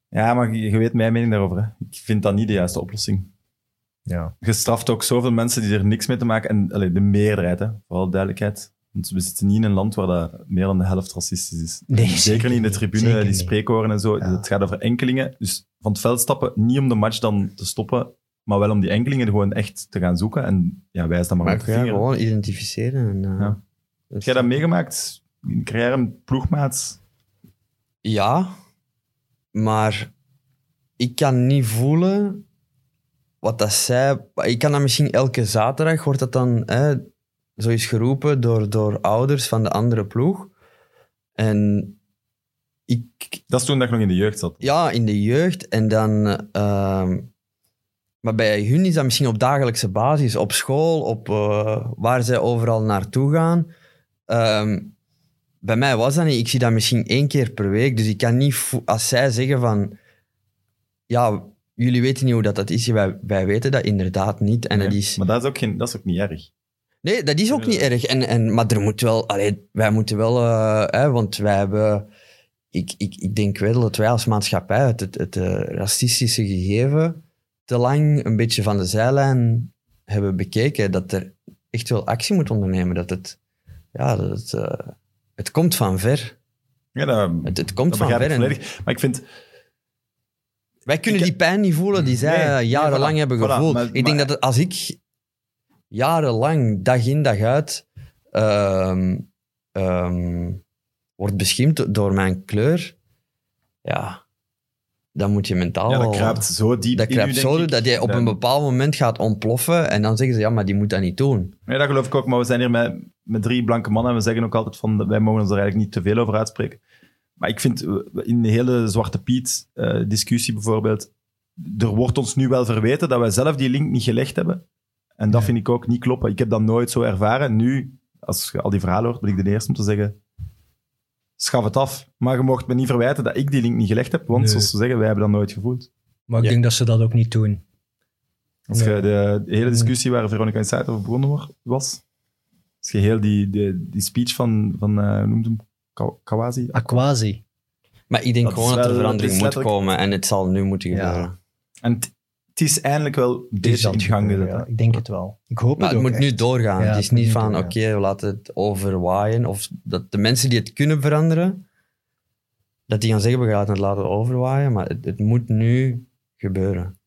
[SPEAKER 2] Ja, maar je, je weet mijn mening daarover. Hè. Ik vind dat niet de juiste oplossing.
[SPEAKER 3] Ja.
[SPEAKER 2] Je straft ook zoveel mensen die er niks mee te maken En allee, de meerderheid, hè, vooral duidelijkheid. Want we zitten niet in een land waar dat meer dan de helft racistisch is.
[SPEAKER 3] Nee,
[SPEAKER 2] Zeker niet in de tribune,
[SPEAKER 3] Zeker
[SPEAKER 2] die
[SPEAKER 3] niet.
[SPEAKER 2] spreekkoren en zo.
[SPEAKER 3] Ja.
[SPEAKER 2] Het gaat over enkelingen. Dus van het veld stappen, niet om de match dan te stoppen, maar wel om die enkelingen gewoon echt te gaan zoeken. En ja, wijs dan maar,
[SPEAKER 4] Maar
[SPEAKER 2] met de
[SPEAKER 4] ja,
[SPEAKER 2] vinger.
[SPEAKER 4] gewoon identificeren. En, eh,
[SPEAKER 2] Ja.
[SPEAKER 4] dus-
[SPEAKER 2] Heb jij dat meegemaakt? In je carrière, een ploegmaat?
[SPEAKER 4] Ja, maar ik kan niet voelen wat dat zij... Ik kan dat misschien elke zaterdag, wordt dat dan hè, zo is geroepen door, door ouders van de andere ploeg. En ik,
[SPEAKER 2] Dat is toen dat je nog in de jeugd zat.
[SPEAKER 4] ja, in de jeugd. En dan... ehm, maar bij hun is dat misschien op dagelijkse basis. Op school, op eh, waar zij overal naartoe gaan. Ehm, bij mij was dat niet. Ik zie dat misschien één keer per week. Dus ik kan niet... vo- Als zij zeggen van... Ja, jullie weten niet hoe dat, dat is. Wij, wij weten dat inderdaad niet. En dat
[SPEAKER 2] Nee,
[SPEAKER 4] is...
[SPEAKER 2] Maar dat is, ook geen, dat is ook niet erg.
[SPEAKER 4] Nee, dat is ook niet erg. En, en, maar er moet wel, allee, wij moeten wel, eh, hè, want wij hebben, ik, ik, ik denk wel dat wij als maatschappij het, het, het eh, racistische gegeven te lang een beetje van de zijlijn hebben bekeken. Dat er echt wel actie moet ondernemen. Dat het, ja, dat het, eh, het komt van ver.
[SPEAKER 2] Ja, dat,
[SPEAKER 4] Het, het komt
[SPEAKER 2] dat
[SPEAKER 4] van
[SPEAKER 2] begrijp
[SPEAKER 4] ver.
[SPEAKER 2] ik
[SPEAKER 4] En
[SPEAKER 2] volledig. Maar ik vind,
[SPEAKER 4] wij kunnen
[SPEAKER 2] Ik-
[SPEAKER 4] die pijn niet voelen die zij
[SPEAKER 2] Nee,
[SPEAKER 4] eh,
[SPEAKER 2] nee,
[SPEAKER 4] jarenlang
[SPEAKER 2] voilà,
[SPEAKER 4] hebben
[SPEAKER 2] voilà,
[SPEAKER 4] gevoeld.
[SPEAKER 2] maar-
[SPEAKER 4] ik denk
[SPEAKER 2] maar-
[SPEAKER 4] dat het- als ik jarenlang, dag in dag uit, ehm, ehm, word beschimpt door mijn kleur, ja, dan moet je mentaal...
[SPEAKER 2] ja, dat
[SPEAKER 4] wel-
[SPEAKER 2] kruipt zo diep
[SPEAKER 4] Oh, dat
[SPEAKER 2] in
[SPEAKER 4] kruipt
[SPEAKER 2] u,
[SPEAKER 4] zo
[SPEAKER 2] denk
[SPEAKER 4] diep
[SPEAKER 2] ik.
[SPEAKER 4] dat je op
[SPEAKER 2] Dan-
[SPEAKER 4] een bepaald moment gaat ontploffen en dan zeggen ze, ja, maar die moet dat niet doen.
[SPEAKER 2] Nee, dat geloof ik ook. Maar we zijn hier met, met drie blanke mannen en we zeggen ook altijd van, wij mogen ons er eigenlijk niet te veel over uitspreken. Maar ik vind, eh, in de hele Zwarte Piet eh, discussie bijvoorbeeld, er wordt ons nu wel verweten dat wij zelf die link niet gelegd hebben. En dat
[SPEAKER 3] Ja.
[SPEAKER 2] vind ik ook niet kloppen. Ik heb dat nooit zo ervaren. Nu, als je al die verhalen hoort, ben ik de eerste om te zeggen, schaf het af. Maar je mocht me niet verwijten dat ik die link niet gelegd heb, want
[SPEAKER 3] Nee.
[SPEAKER 2] zoals ze zeggen, wij hebben dat nooit gevoeld.
[SPEAKER 3] Maar ik
[SPEAKER 4] Ja.
[SPEAKER 3] denk dat ze dat ook niet doen.
[SPEAKER 2] Als je
[SPEAKER 3] Nee.
[SPEAKER 2] de, de hele discussie waar Veronica Insight over begonnen wa- was, als je heel die, die, die speech van, van eh, hoe noemt hem, Ka- Kawazi?
[SPEAKER 3] Aquasi.
[SPEAKER 4] Maar ik denk
[SPEAKER 2] Dat is
[SPEAKER 4] gewoon dat er
[SPEAKER 2] wel-
[SPEAKER 4] verandering
[SPEAKER 2] dat
[SPEAKER 4] moet
[SPEAKER 2] is letterlijk-
[SPEAKER 4] komen en het zal nu moeten
[SPEAKER 3] Ja.
[SPEAKER 4] gebeuren.
[SPEAKER 2] En t- het is eindelijk wel een
[SPEAKER 3] is
[SPEAKER 2] beetje
[SPEAKER 3] aan
[SPEAKER 2] in
[SPEAKER 3] het
[SPEAKER 2] gang gezet.
[SPEAKER 3] gebeuren,
[SPEAKER 2] hè.
[SPEAKER 3] ja. Ik denk het wel. Ik hoop
[SPEAKER 4] Maar
[SPEAKER 3] het
[SPEAKER 4] het
[SPEAKER 3] ook
[SPEAKER 4] moet
[SPEAKER 3] echt.
[SPEAKER 4] nu doorgaan.
[SPEAKER 3] Ja,
[SPEAKER 4] het is
[SPEAKER 3] het moet
[SPEAKER 4] niet
[SPEAKER 3] nu
[SPEAKER 4] van, oké,
[SPEAKER 3] doorgaan.
[SPEAKER 4] we laten het overwaaien. Of dat de mensen die het kunnen veranderen, dat die gaan zeggen, we gaan het laten overwaaien. Maar het, het moet nu gebeuren.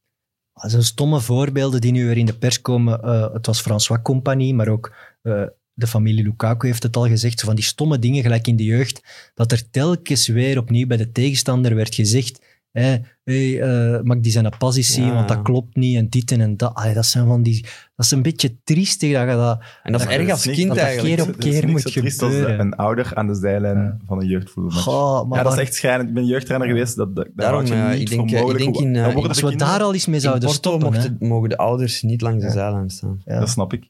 [SPEAKER 3] Ah, Zo'n stomme voorbeelden die nu weer in de pers komen. eh, het was François Compagnie, maar ook eh, de familie Lukaku heeft het al gezegd. Zo van die stomme dingen, gelijk in de jeugd. Dat er telkens weer opnieuw bij de tegenstander werd gezegd. Hé, hey, eh, mag die zijn pas eens zien,
[SPEAKER 4] Ja.
[SPEAKER 3] want dat klopt niet. En dit en en dat. Allee, dat zijn van die... Dat is een beetje triestig dat je dat...
[SPEAKER 4] En dat
[SPEAKER 3] Ja,
[SPEAKER 4] is erg
[SPEAKER 2] Er
[SPEAKER 4] als
[SPEAKER 2] niks-
[SPEAKER 4] kind
[SPEAKER 3] dat
[SPEAKER 2] er is
[SPEAKER 4] eigenlijk.
[SPEAKER 2] niks-
[SPEAKER 3] keer op
[SPEAKER 2] er is
[SPEAKER 3] keer
[SPEAKER 2] niks
[SPEAKER 3] moet
[SPEAKER 2] zo triest als
[SPEAKER 3] gebeuren.
[SPEAKER 2] een ouder aan de zijlijn
[SPEAKER 3] Ja.
[SPEAKER 2] van een jeugdvoetbalmatch.
[SPEAKER 3] Goh, maar
[SPEAKER 2] ja, dat is
[SPEAKER 3] waar-
[SPEAKER 2] echt schrijnend. Ik ben jeugdtrainer geweest. Dat, dat, dat
[SPEAKER 4] Daarom,
[SPEAKER 2] houd je
[SPEAKER 4] eh,
[SPEAKER 2] niet
[SPEAKER 4] ik denk,
[SPEAKER 2] voor
[SPEAKER 4] eh, ik
[SPEAKER 2] mogelijk.
[SPEAKER 4] denk
[SPEAKER 2] Hoe-
[SPEAKER 4] in, eh,
[SPEAKER 2] dan worden
[SPEAKER 3] Als
[SPEAKER 2] de
[SPEAKER 3] we
[SPEAKER 2] kinderen-
[SPEAKER 3] daar al iets mee
[SPEAKER 4] In
[SPEAKER 3] zouden
[SPEAKER 4] Porto
[SPEAKER 3] stoppen... hè.
[SPEAKER 4] mochten, mogen de ouders niet langs de
[SPEAKER 3] Ja.
[SPEAKER 4] zijlijn staan.
[SPEAKER 3] Ja.
[SPEAKER 2] Dat snap ik.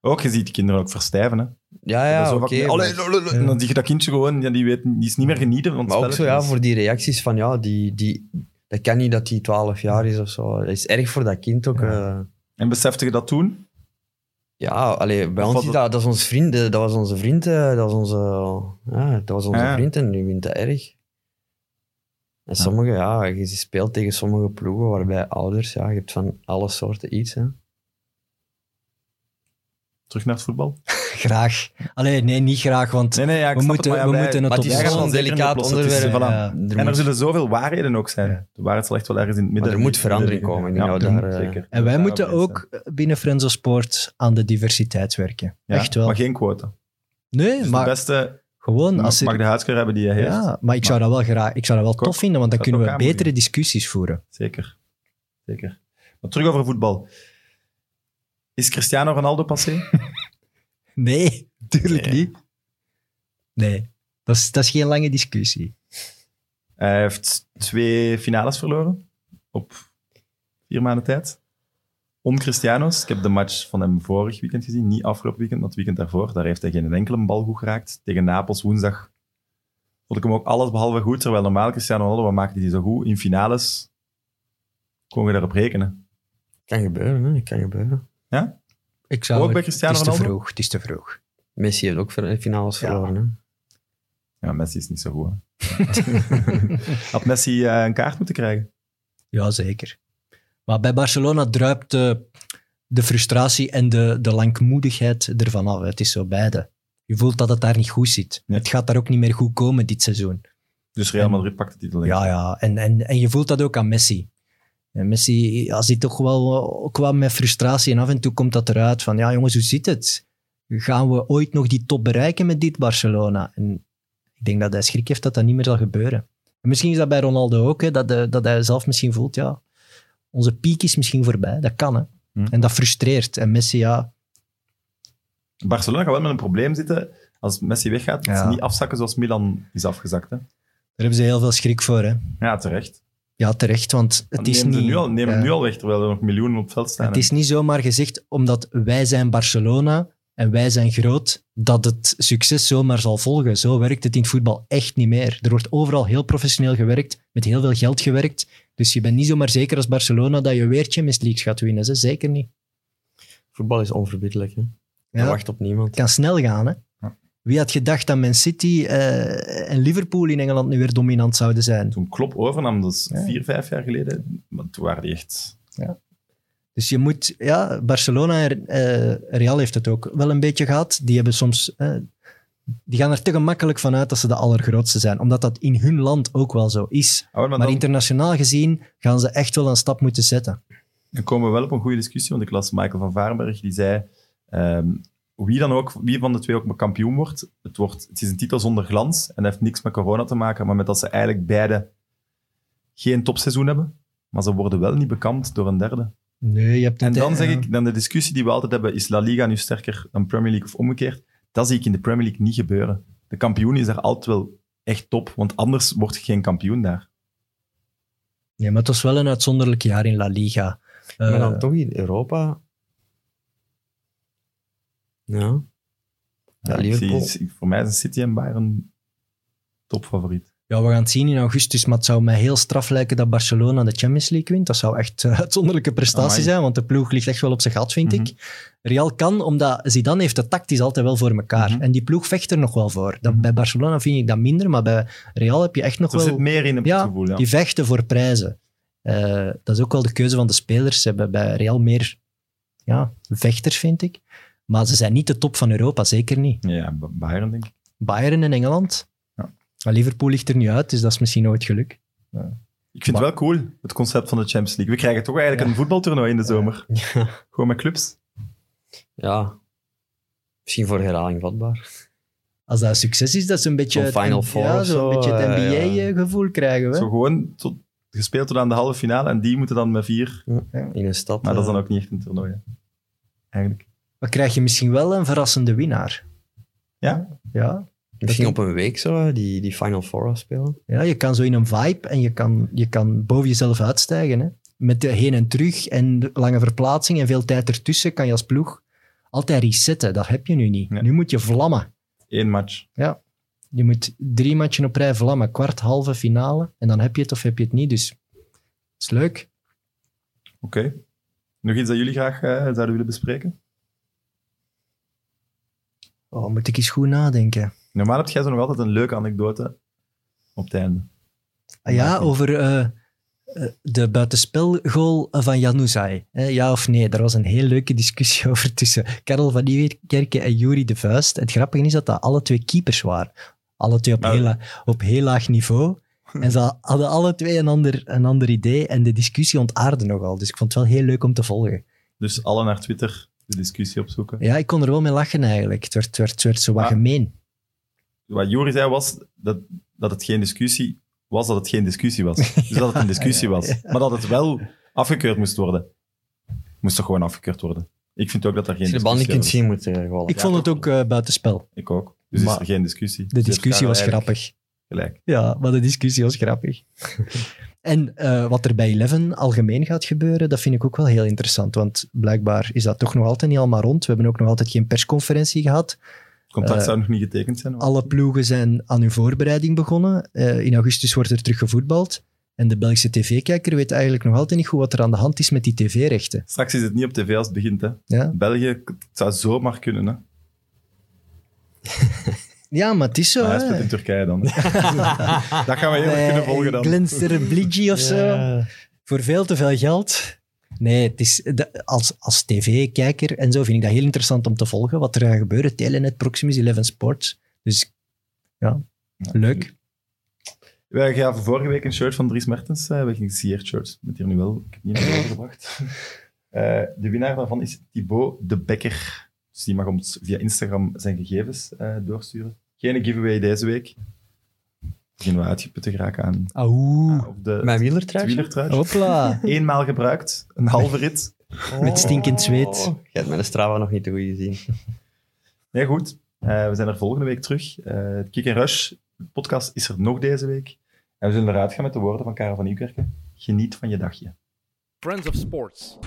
[SPEAKER 2] Ook, je ziet kinderen ook verstijven. Hè.
[SPEAKER 4] Ja,
[SPEAKER 2] Dat is
[SPEAKER 4] ja,
[SPEAKER 2] zo
[SPEAKER 4] oké.
[SPEAKER 2] vaak- Allee,
[SPEAKER 4] maar-
[SPEAKER 2] lululul. En dan zie je dat kindje gewoon, ja, die, weet, die is niet meer genieten van het
[SPEAKER 4] maar ook zo,
[SPEAKER 2] spelletje.
[SPEAKER 4] ja,
[SPEAKER 2] Dus-
[SPEAKER 4] voor die reacties van, ja, die, die, dat kan niet dat die 12 jaar is of zo. Dat is erg voor dat kind ook. eh.
[SPEAKER 2] En besefte je dat toen?
[SPEAKER 4] Ja, allee, bij
[SPEAKER 2] Of
[SPEAKER 4] ons
[SPEAKER 2] was
[SPEAKER 4] is
[SPEAKER 2] het-
[SPEAKER 4] dat, dat is ons vriend, eh, dat was onze vriend, eh, dat was onze, ja, dat was onze
[SPEAKER 2] Ja.
[SPEAKER 4] vriend en nu wint dat erg. En
[SPEAKER 2] Ja.
[SPEAKER 4] sommige, ja, je speelt tegen sommige ploegen waarbij ouders, ja, je hebt van alle soorten iets. Hè.
[SPEAKER 2] Terug naar het voetbal?
[SPEAKER 3] Graag. Allee, nee, niet graag, want...
[SPEAKER 2] Nee, nee, ja, ik
[SPEAKER 3] we
[SPEAKER 2] snap
[SPEAKER 3] moeten,
[SPEAKER 2] het, maar ja,
[SPEAKER 3] we
[SPEAKER 2] wij-
[SPEAKER 3] moeten het
[SPEAKER 4] Maar
[SPEAKER 3] op
[SPEAKER 4] het is
[SPEAKER 2] Jij gaat
[SPEAKER 4] gewoon
[SPEAKER 3] ons-
[SPEAKER 2] wel
[SPEAKER 4] een
[SPEAKER 2] zeker
[SPEAKER 4] delicaat
[SPEAKER 2] niet oplossen, het is,
[SPEAKER 4] onderwerp.
[SPEAKER 2] eh, voilà.
[SPEAKER 3] Ja.
[SPEAKER 4] Er
[SPEAKER 2] En er
[SPEAKER 4] moet-
[SPEAKER 2] zullen zoveel waarheden ook zijn. De waarheid zal echt wel ergens in het midden.
[SPEAKER 4] Maar er moet verandering komen, ik denk dat we daar, eh,
[SPEAKER 3] En wij
[SPEAKER 2] Daar
[SPEAKER 3] moeten
[SPEAKER 2] over eens
[SPEAKER 3] ook binnen Frenzo Sport aan de diversiteit werken.
[SPEAKER 2] zijn. Ja,
[SPEAKER 3] Echt wel.
[SPEAKER 2] Maar geen quota.
[SPEAKER 3] nee,
[SPEAKER 2] Dus
[SPEAKER 3] maar
[SPEAKER 2] de beste
[SPEAKER 3] gewoon
[SPEAKER 2] mag,
[SPEAKER 3] als er-
[SPEAKER 2] mag de huidskleur hebben die hij heeft.
[SPEAKER 3] ja, maar ik zou dat wel graag, ik zou dat wel
[SPEAKER 2] ook-
[SPEAKER 3] tof vinden, want dan
[SPEAKER 2] dat
[SPEAKER 3] kunnen we
[SPEAKER 2] ook aan
[SPEAKER 3] betere
[SPEAKER 2] moeten.
[SPEAKER 3] discussies voeren.
[SPEAKER 2] Zeker. Zeker. Maar terug over voetbal. Is Cristiano Ronaldo passé?
[SPEAKER 3] Nee, [laughs] tuurlijk
[SPEAKER 4] Nee.
[SPEAKER 3] niet. Nee, dat is, dat is geen lange discussie.
[SPEAKER 2] Hij heeft twee finales verloren op vier maanden tijd. Om Cristiano's. Ik heb de match van hem vorig weekend gezien. Niet afgelopen weekend, maar het weekend daarvoor. Daar heeft hij geen enkele bal goed geraakt. Tegen Napels woensdag vond ik hem ook alles behalve goed. Terwijl normaal Cristiano Ronaldo, wat maakte hij zo goed? In finales kon je daarop rekenen.
[SPEAKER 4] Kan gebeuren, hè? Kan gebeuren.
[SPEAKER 2] Ja?
[SPEAKER 3] Ik zou
[SPEAKER 2] Ook
[SPEAKER 3] er-
[SPEAKER 2] bij Cristiano
[SPEAKER 3] het is te
[SPEAKER 2] Ronaldo?
[SPEAKER 3] vroeg, het is te vroeg.
[SPEAKER 4] Messi heeft ook ver- finales
[SPEAKER 3] Ja.
[SPEAKER 4] verloren. Hè?
[SPEAKER 2] Ja, Messi is niet zo goed.
[SPEAKER 3] [laughs]
[SPEAKER 2] hè. Had Messi eh, een kaart moeten krijgen?
[SPEAKER 3] Jazeker. Maar bij Barcelona druipt de, de frustratie en de, de langmoedigheid ervan af. Het is zo beide. Je voelt dat het daar niet goed zit.
[SPEAKER 2] Ja.
[SPEAKER 3] Het gaat daar ook niet meer goed komen dit seizoen.
[SPEAKER 2] Dus Real
[SPEAKER 3] En-
[SPEAKER 2] Madrid pakt de titel. denk ik.
[SPEAKER 3] Ja, ja. En, en, en je voelt dat ook aan Messi. En Messi ja, zit toch wel eh, ook wel met frustratie. En af en toe komt dat eruit van, ja jongens, hoe zit het? Gaan we ooit nog die top bereiken met dit Barcelona? En ik denk dat hij schrik heeft dat dat niet meer zal gebeuren. En misschien is dat bij Ronaldo ook, hè, dat, de- dat hij zelf misschien voelt, ja, onze piek is misschien voorbij. Dat kan, hè.
[SPEAKER 2] Hm.
[SPEAKER 3] En dat frustreert. En Messi, ja,
[SPEAKER 2] Barcelona gaat wel met een probleem zitten als Messi weggaat. Dat ze
[SPEAKER 3] Ja.
[SPEAKER 2] niet afzakken zoals Milan is afgezakt. Hè?
[SPEAKER 3] daar hebben ze heel veel schrik voor, hè.
[SPEAKER 2] Ja, terecht.
[SPEAKER 3] Ja, terecht, want het
[SPEAKER 2] Want
[SPEAKER 3] is
[SPEAKER 2] neem ze
[SPEAKER 3] niet...
[SPEAKER 2] Nu al, neem hem
[SPEAKER 3] ja.
[SPEAKER 2] nu al weg, terwijl er nog miljoenen op het veld staan.
[SPEAKER 3] Het
[SPEAKER 2] hè.
[SPEAKER 3] is niet zomaar gezegd omdat wij zijn Barcelona en wij zijn groot, dat het succes zomaar zal volgen. Zo werkt het in het voetbal echt niet meer. Er wordt overal heel professioneel gewerkt, met heel veel geld gewerkt. Dus je bent niet zomaar zeker als Barcelona dat je weer Champions League gaat winnen. Ze zeker niet.
[SPEAKER 4] Voetbal is onverbiddelijk. Hè? Je
[SPEAKER 3] Ja.
[SPEAKER 4] wacht op niemand.
[SPEAKER 3] Het kan snel gaan, hè.
[SPEAKER 2] Ja.
[SPEAKER 3] Wie had gedacht dat Man City eh, en Liverpool in Engeland nu weer dominant zouden zijn?
[SPEAKER 2] Toen Klopp overnam, dat is
[SPEAKER 3] Ja.
[SPEAKER 2] vier, vijf jaar geleden. Maar toen waren die echt...
[SPEAKER 3] Dus je moet, ja, Barcelona en eh, Real heeft het ook wel een beetje gehad. Die hebben soms, eh, die gaan er te gemakkelijk van uit dat ze de allergrootste zijn, omdat dat in hun land ook wel zo is.
[SPEAKER 2] Ah, wel, maar
[SPEAKER 3] Maar
[SPEAKER 2] dan,
[SPEAKER 3] internationaal gezien gaan ze echt wel een stap moeten zetten.
[SPEAKER 2] dan komen we wel op een goede discussie, want ik las Michael van Varenberg, die zei... ehm, wie, dan ook, wie van de twee ook maar kampioen wordt, het, wordt, het is een titel zonder glans en dat heeft niks met corona te maken, maar met dat ze eigenlijk beide geen topseizoen hebben, maar ze worden wel niet bekampt door een derde.
[SPEAKER 3] Nee, je hebt
[SPEAKER 2] En dan zeg ik, dan de discussie die we altijd hebben, is La Liga nu sterker dan Premier League of omgekeerd? Dat zie ik in de Premier League niet gebeuren. De kampioen is daar altijd wel echt top, want anders wordt je geen kampioen daar.
[SPEAKER 3] Nee, maar het was wel een uitzonderlijk jaar in La Liga. Eh,
[SPEAKER 4] maar dan toch in Europa. Ja. Ja,
[SPEAKER 2] ik
[SPEAKER 4] Liverpool.
[SPEAKER 2] zie- ik- voor mij zijn City en Bayern topfavoriet.
[SPEAKER 3] ja, we gaan het zien in augustus, maar het zou mij heel straf lijken dat Barcelona de Champions League wint. Dat zou echt een uitzonderlijke prestatie
[SPEAKER 2] Amai.
[SPEAKER 3] zijn, want de ploeg ligt echt wel op zijn gat, vind
[SPEAKER 2] Mhm.
[SPEAKER 3] ik. Real kan, omdat Zidane heeft het tactisch altijd wel voor elkaar.
[SPEAKER 2] Mhm.
[SPEAKER 3] En die ploeg vecht er nog wel voor. Dat,
[SPEAKER 2] Mhm.
[SPEAKER 3] Bij Barcelona vind ik dat minder, maar bij Real heb je echt nog
[SPEAKER 2] Er
[SPEAKER 3] wel...
[SPEAKER 2] zit meer in, heb ik
[SPEAKER 3] Ja,
[SPEAKER 2] het gevoel. Ja.
[SPEAKER 3] Die vechten voor prijzen. Eh, dat is ook wel de keuze van de spelers. Ze hebben bij Real meer ja, vechters, vind ik. Maar ze zijn niet de top van Europa, zeker niet.
[SPEAKER 2] Ja, ja, Ba- Bayern denk ik.
[SPEAKER 3] Bayern en Engeland.
[SPEAKER 2] Ja.
[SPEAKER 3] Maar Liverpool ligt er nu uit, dus dat is misschien nooit geluk.
[SPEAKER 2] Ik vind het
[SPEAKER 3] Maar-
[SPEAKER 2] wel cool, het concept van de Champions League. We krijgen toch eigenlijk
[SPEAKER 3] Ja.
[SPEAKER 2] een voetbaltoernooi in de zomer.
[SPEAKER 4] ja.
[SPEAKER 2] Gewoon met clubs.
[SPEAKER 4] Ja. Misschien voor herhaling vatbaar.
[SPEAKER 3] Als dat een succes is, dat ze een beetje...
[SPEAKER 4] Zo'n
[SPEAKER 3] het-
[SPEAKER 4] Final Four
[SPEAKER 3] ja,
[SPEAKER 4] of
[SPEAKER 3] zo'n
[SPEAKER 4] zo,
[SPEAKER 3] beetje het
[SPEAKER 4] eh, ja.
[SPEAKER 3] NBA-gevoel krijgen we.
[SPEAKER 2] Zo gewoon tot, gespeeld tot aan de halve finale en die moeten dan met vier.
[SPEAKER 4] In een stad.
[SPEAKER 2] Maar dat is dan
[SPEAKER 4] eh,
[SPEAKER 2] ook niet echt een toernooi. hè. Eigenlijk.
[SPEAKER 3] Maar krijg je misschien wel een verrassende winnaar.
[SPEAKER 2] Ja?
[SPEAKER 3] Ja,
[SPEAKER 4] Misschien op een week zo, eh, die, die Final Four afspelen.
[SPEAKER 3] ja je kan zo in een vibe en je kan, je kan boven jezelf uitstijgen. Hè? Met de heen en terug en de lange verplaatsing en veel tijd ertussen kan je als ploeg altijd resetten. Dat heb je nu niet.
[SPEAKER 2] Nee.
[SPEAKER 3] Nu moet je vlammen.
[SPEAKER 2] Eén match.
[SPEAKER 3] Je moet drie matchen op rij vlammen. Kwart, halve, finale. En dan heb je het of heb je het niet. Dus dat is leuk.
[SPEAKER 2] Oké. Nog iets dat jullie graag eh, zouden willen bespreken?
[SPEAKER 3] Oh, moet ik eens goed nadenken.
[SPEAKER 2] Normaal heb jij zo nog altijd een leuke anekdote op het einde.
[SPEAKER 3] Ah ja,
[SPEAKER 2] Maakt niet.
[SPEAKER 3] over eh, eh, de buitenspelgoal van Januzaj. Hè, Ja of nee? Daar was een heel leuke discussie [laughs] over tussen Karel van Nieuwkerken en Juri de Vuist. Het grappige is dat dat alle twee keepers waren. Alle twee op,
[SPEAKER 2] Nou.
[SPEAKER 3] heel, la- op heel laag niveau. En ze hadden alle twee een ander, een ander idee. En de discussie ontaarde nogal. Dus ik vond het wel heel leuk om te volgen.
[SPEAKER 2] Dus alle naar Twitter de discussie opzoeken.
[SPEAKER 3] Ja, ik kon er wel mee lachen eigenlijk. Het werd, het werd, het werd zo wat
[SPEAKER 2] Ah.
[SPEAKER 3] gemeen.
[SPEAKER 2] Wat Jori zei was dat, dat het geen discussie was, dat het geen discussie
[SPEAKER 3] [laughs]
[SPEAKER 2] was. Dus dat het een discussie was. Maar dat het wel afgekeurd moest worden. Moest toch gewoon afgekeurd worden. Ik vind ook dat er geen
[SPEAKER 4] Als je de band niet
[SPEAKER 2] discussie
[SPEAKER 4] kunt
[SPEAKER 2] over
[SPEAKER 4] zien, moet je gewoon.
[SPEAKER 3] Ik vond het ook eh, buitenspel.
[SPEAKER 2] is. Ik ook. Dus is
[SPEAKER 3] Maar
[SPEAKER 2] er geen discussie.
[SPEAKER 3] De discussie was grappig.
[SPEAKER 2] Gelijk.
[SPEAKER 3] Ja, maar de discussie was grappig. [laughs] en eh, wat er bij Eleven algemeen gaat gebeuren, dat vind ik ook wel heel interessant. Want blijkbaar is dat toch nog altijd niet allemaal rond. We hebben ook nog altijd geen persconferentie gehad.
[SPEAKER 2] Het contract
[SPEAKER 3] Eh,
[SPEAKER 2] zou nog niet getekend zijn. want-
[SPEAKER 3] Alle ploegen zijn aan hun voorbereiding begonnen. Eh, in augustus wordt er terug gevoetbald. En de Belgische tv-kijker weet eigenlijk nog altijd niet goed wat er aan de hand is met die tv-rechten.
[SPEAKER 2] Straks is het niet op tv als het begint. Hè.
[SPEAKER 3] Ja?
[SPEAKER 2] België, het zou zomaar kunnen. Hè.
[SPEAKER 3] ja, maar het is zo.
[SPEAKER 2] maar Ah, hij
[SPEAKER 3] hè. Eh,
[SPEAKER 2] speelt in Turkije dan.
[SPEAKER 3] [laughs]
[SPEAKER 2] dat gaan we heel erg
[SPEAKER 3] Bij
[SPEAKER 2] kunnen volgen dan.
[SPEAKER 3] Glensterbligge [laughs] of zo.
[SPEAKER 4] Ja.
[SPEAKER 3] voor veel te veel geld. Nee, het is, de- als, als tv-kijker en zo vind ik dat heel interessant om te volgen. Wat er gaat gebeuren. Telenet, Proximus, Eleven Sports. Dus ja, leuk.
[SPEAKER 2] Wij gaven vorige week een shirt van Dries Mertens. eh we gingen CR-shirts. Met hier nu wel. Ik heb niet meer
[SPEAKER 3] [laughs]
[SPEAKER 2] overgebracht. Eh, de winnaar daarvan is Thibaut de Bekker. Dus die mag ons via Instagram zijn gegevens eh, doorsturen. Geen giveaway deze week. Beginnen we uitgeput te geraken aan
[SPEAKER 3] Auw.
[SPEAKER 2] op de
[SPEAKER 4] Mijn
[SPEAKER 2] het
[SPEAKER 4] wielertrui.
[SPEAKER 2] wielertruitje. [laughs]
[SPEAKER 3] Hopla.
[SPEAKER 2] Eenmaal gebruikt. Een halve rit.
[SPEAKER 3] Met stinkend zweet.
[SPEAKER 4] Oh, Je hebt mijn Strava nog niet te goed gezien.
[SPEAKER 2] Nee, goed. Eh, we zijn er volgende week terug. Eh Kick and Rush, de podcast is er nog deze week. En we zullen eruit gaan met de woorden van Karel van Nieuwkerken. Geniet van je dagje.
[SPEAKER 1] Friends of Sports.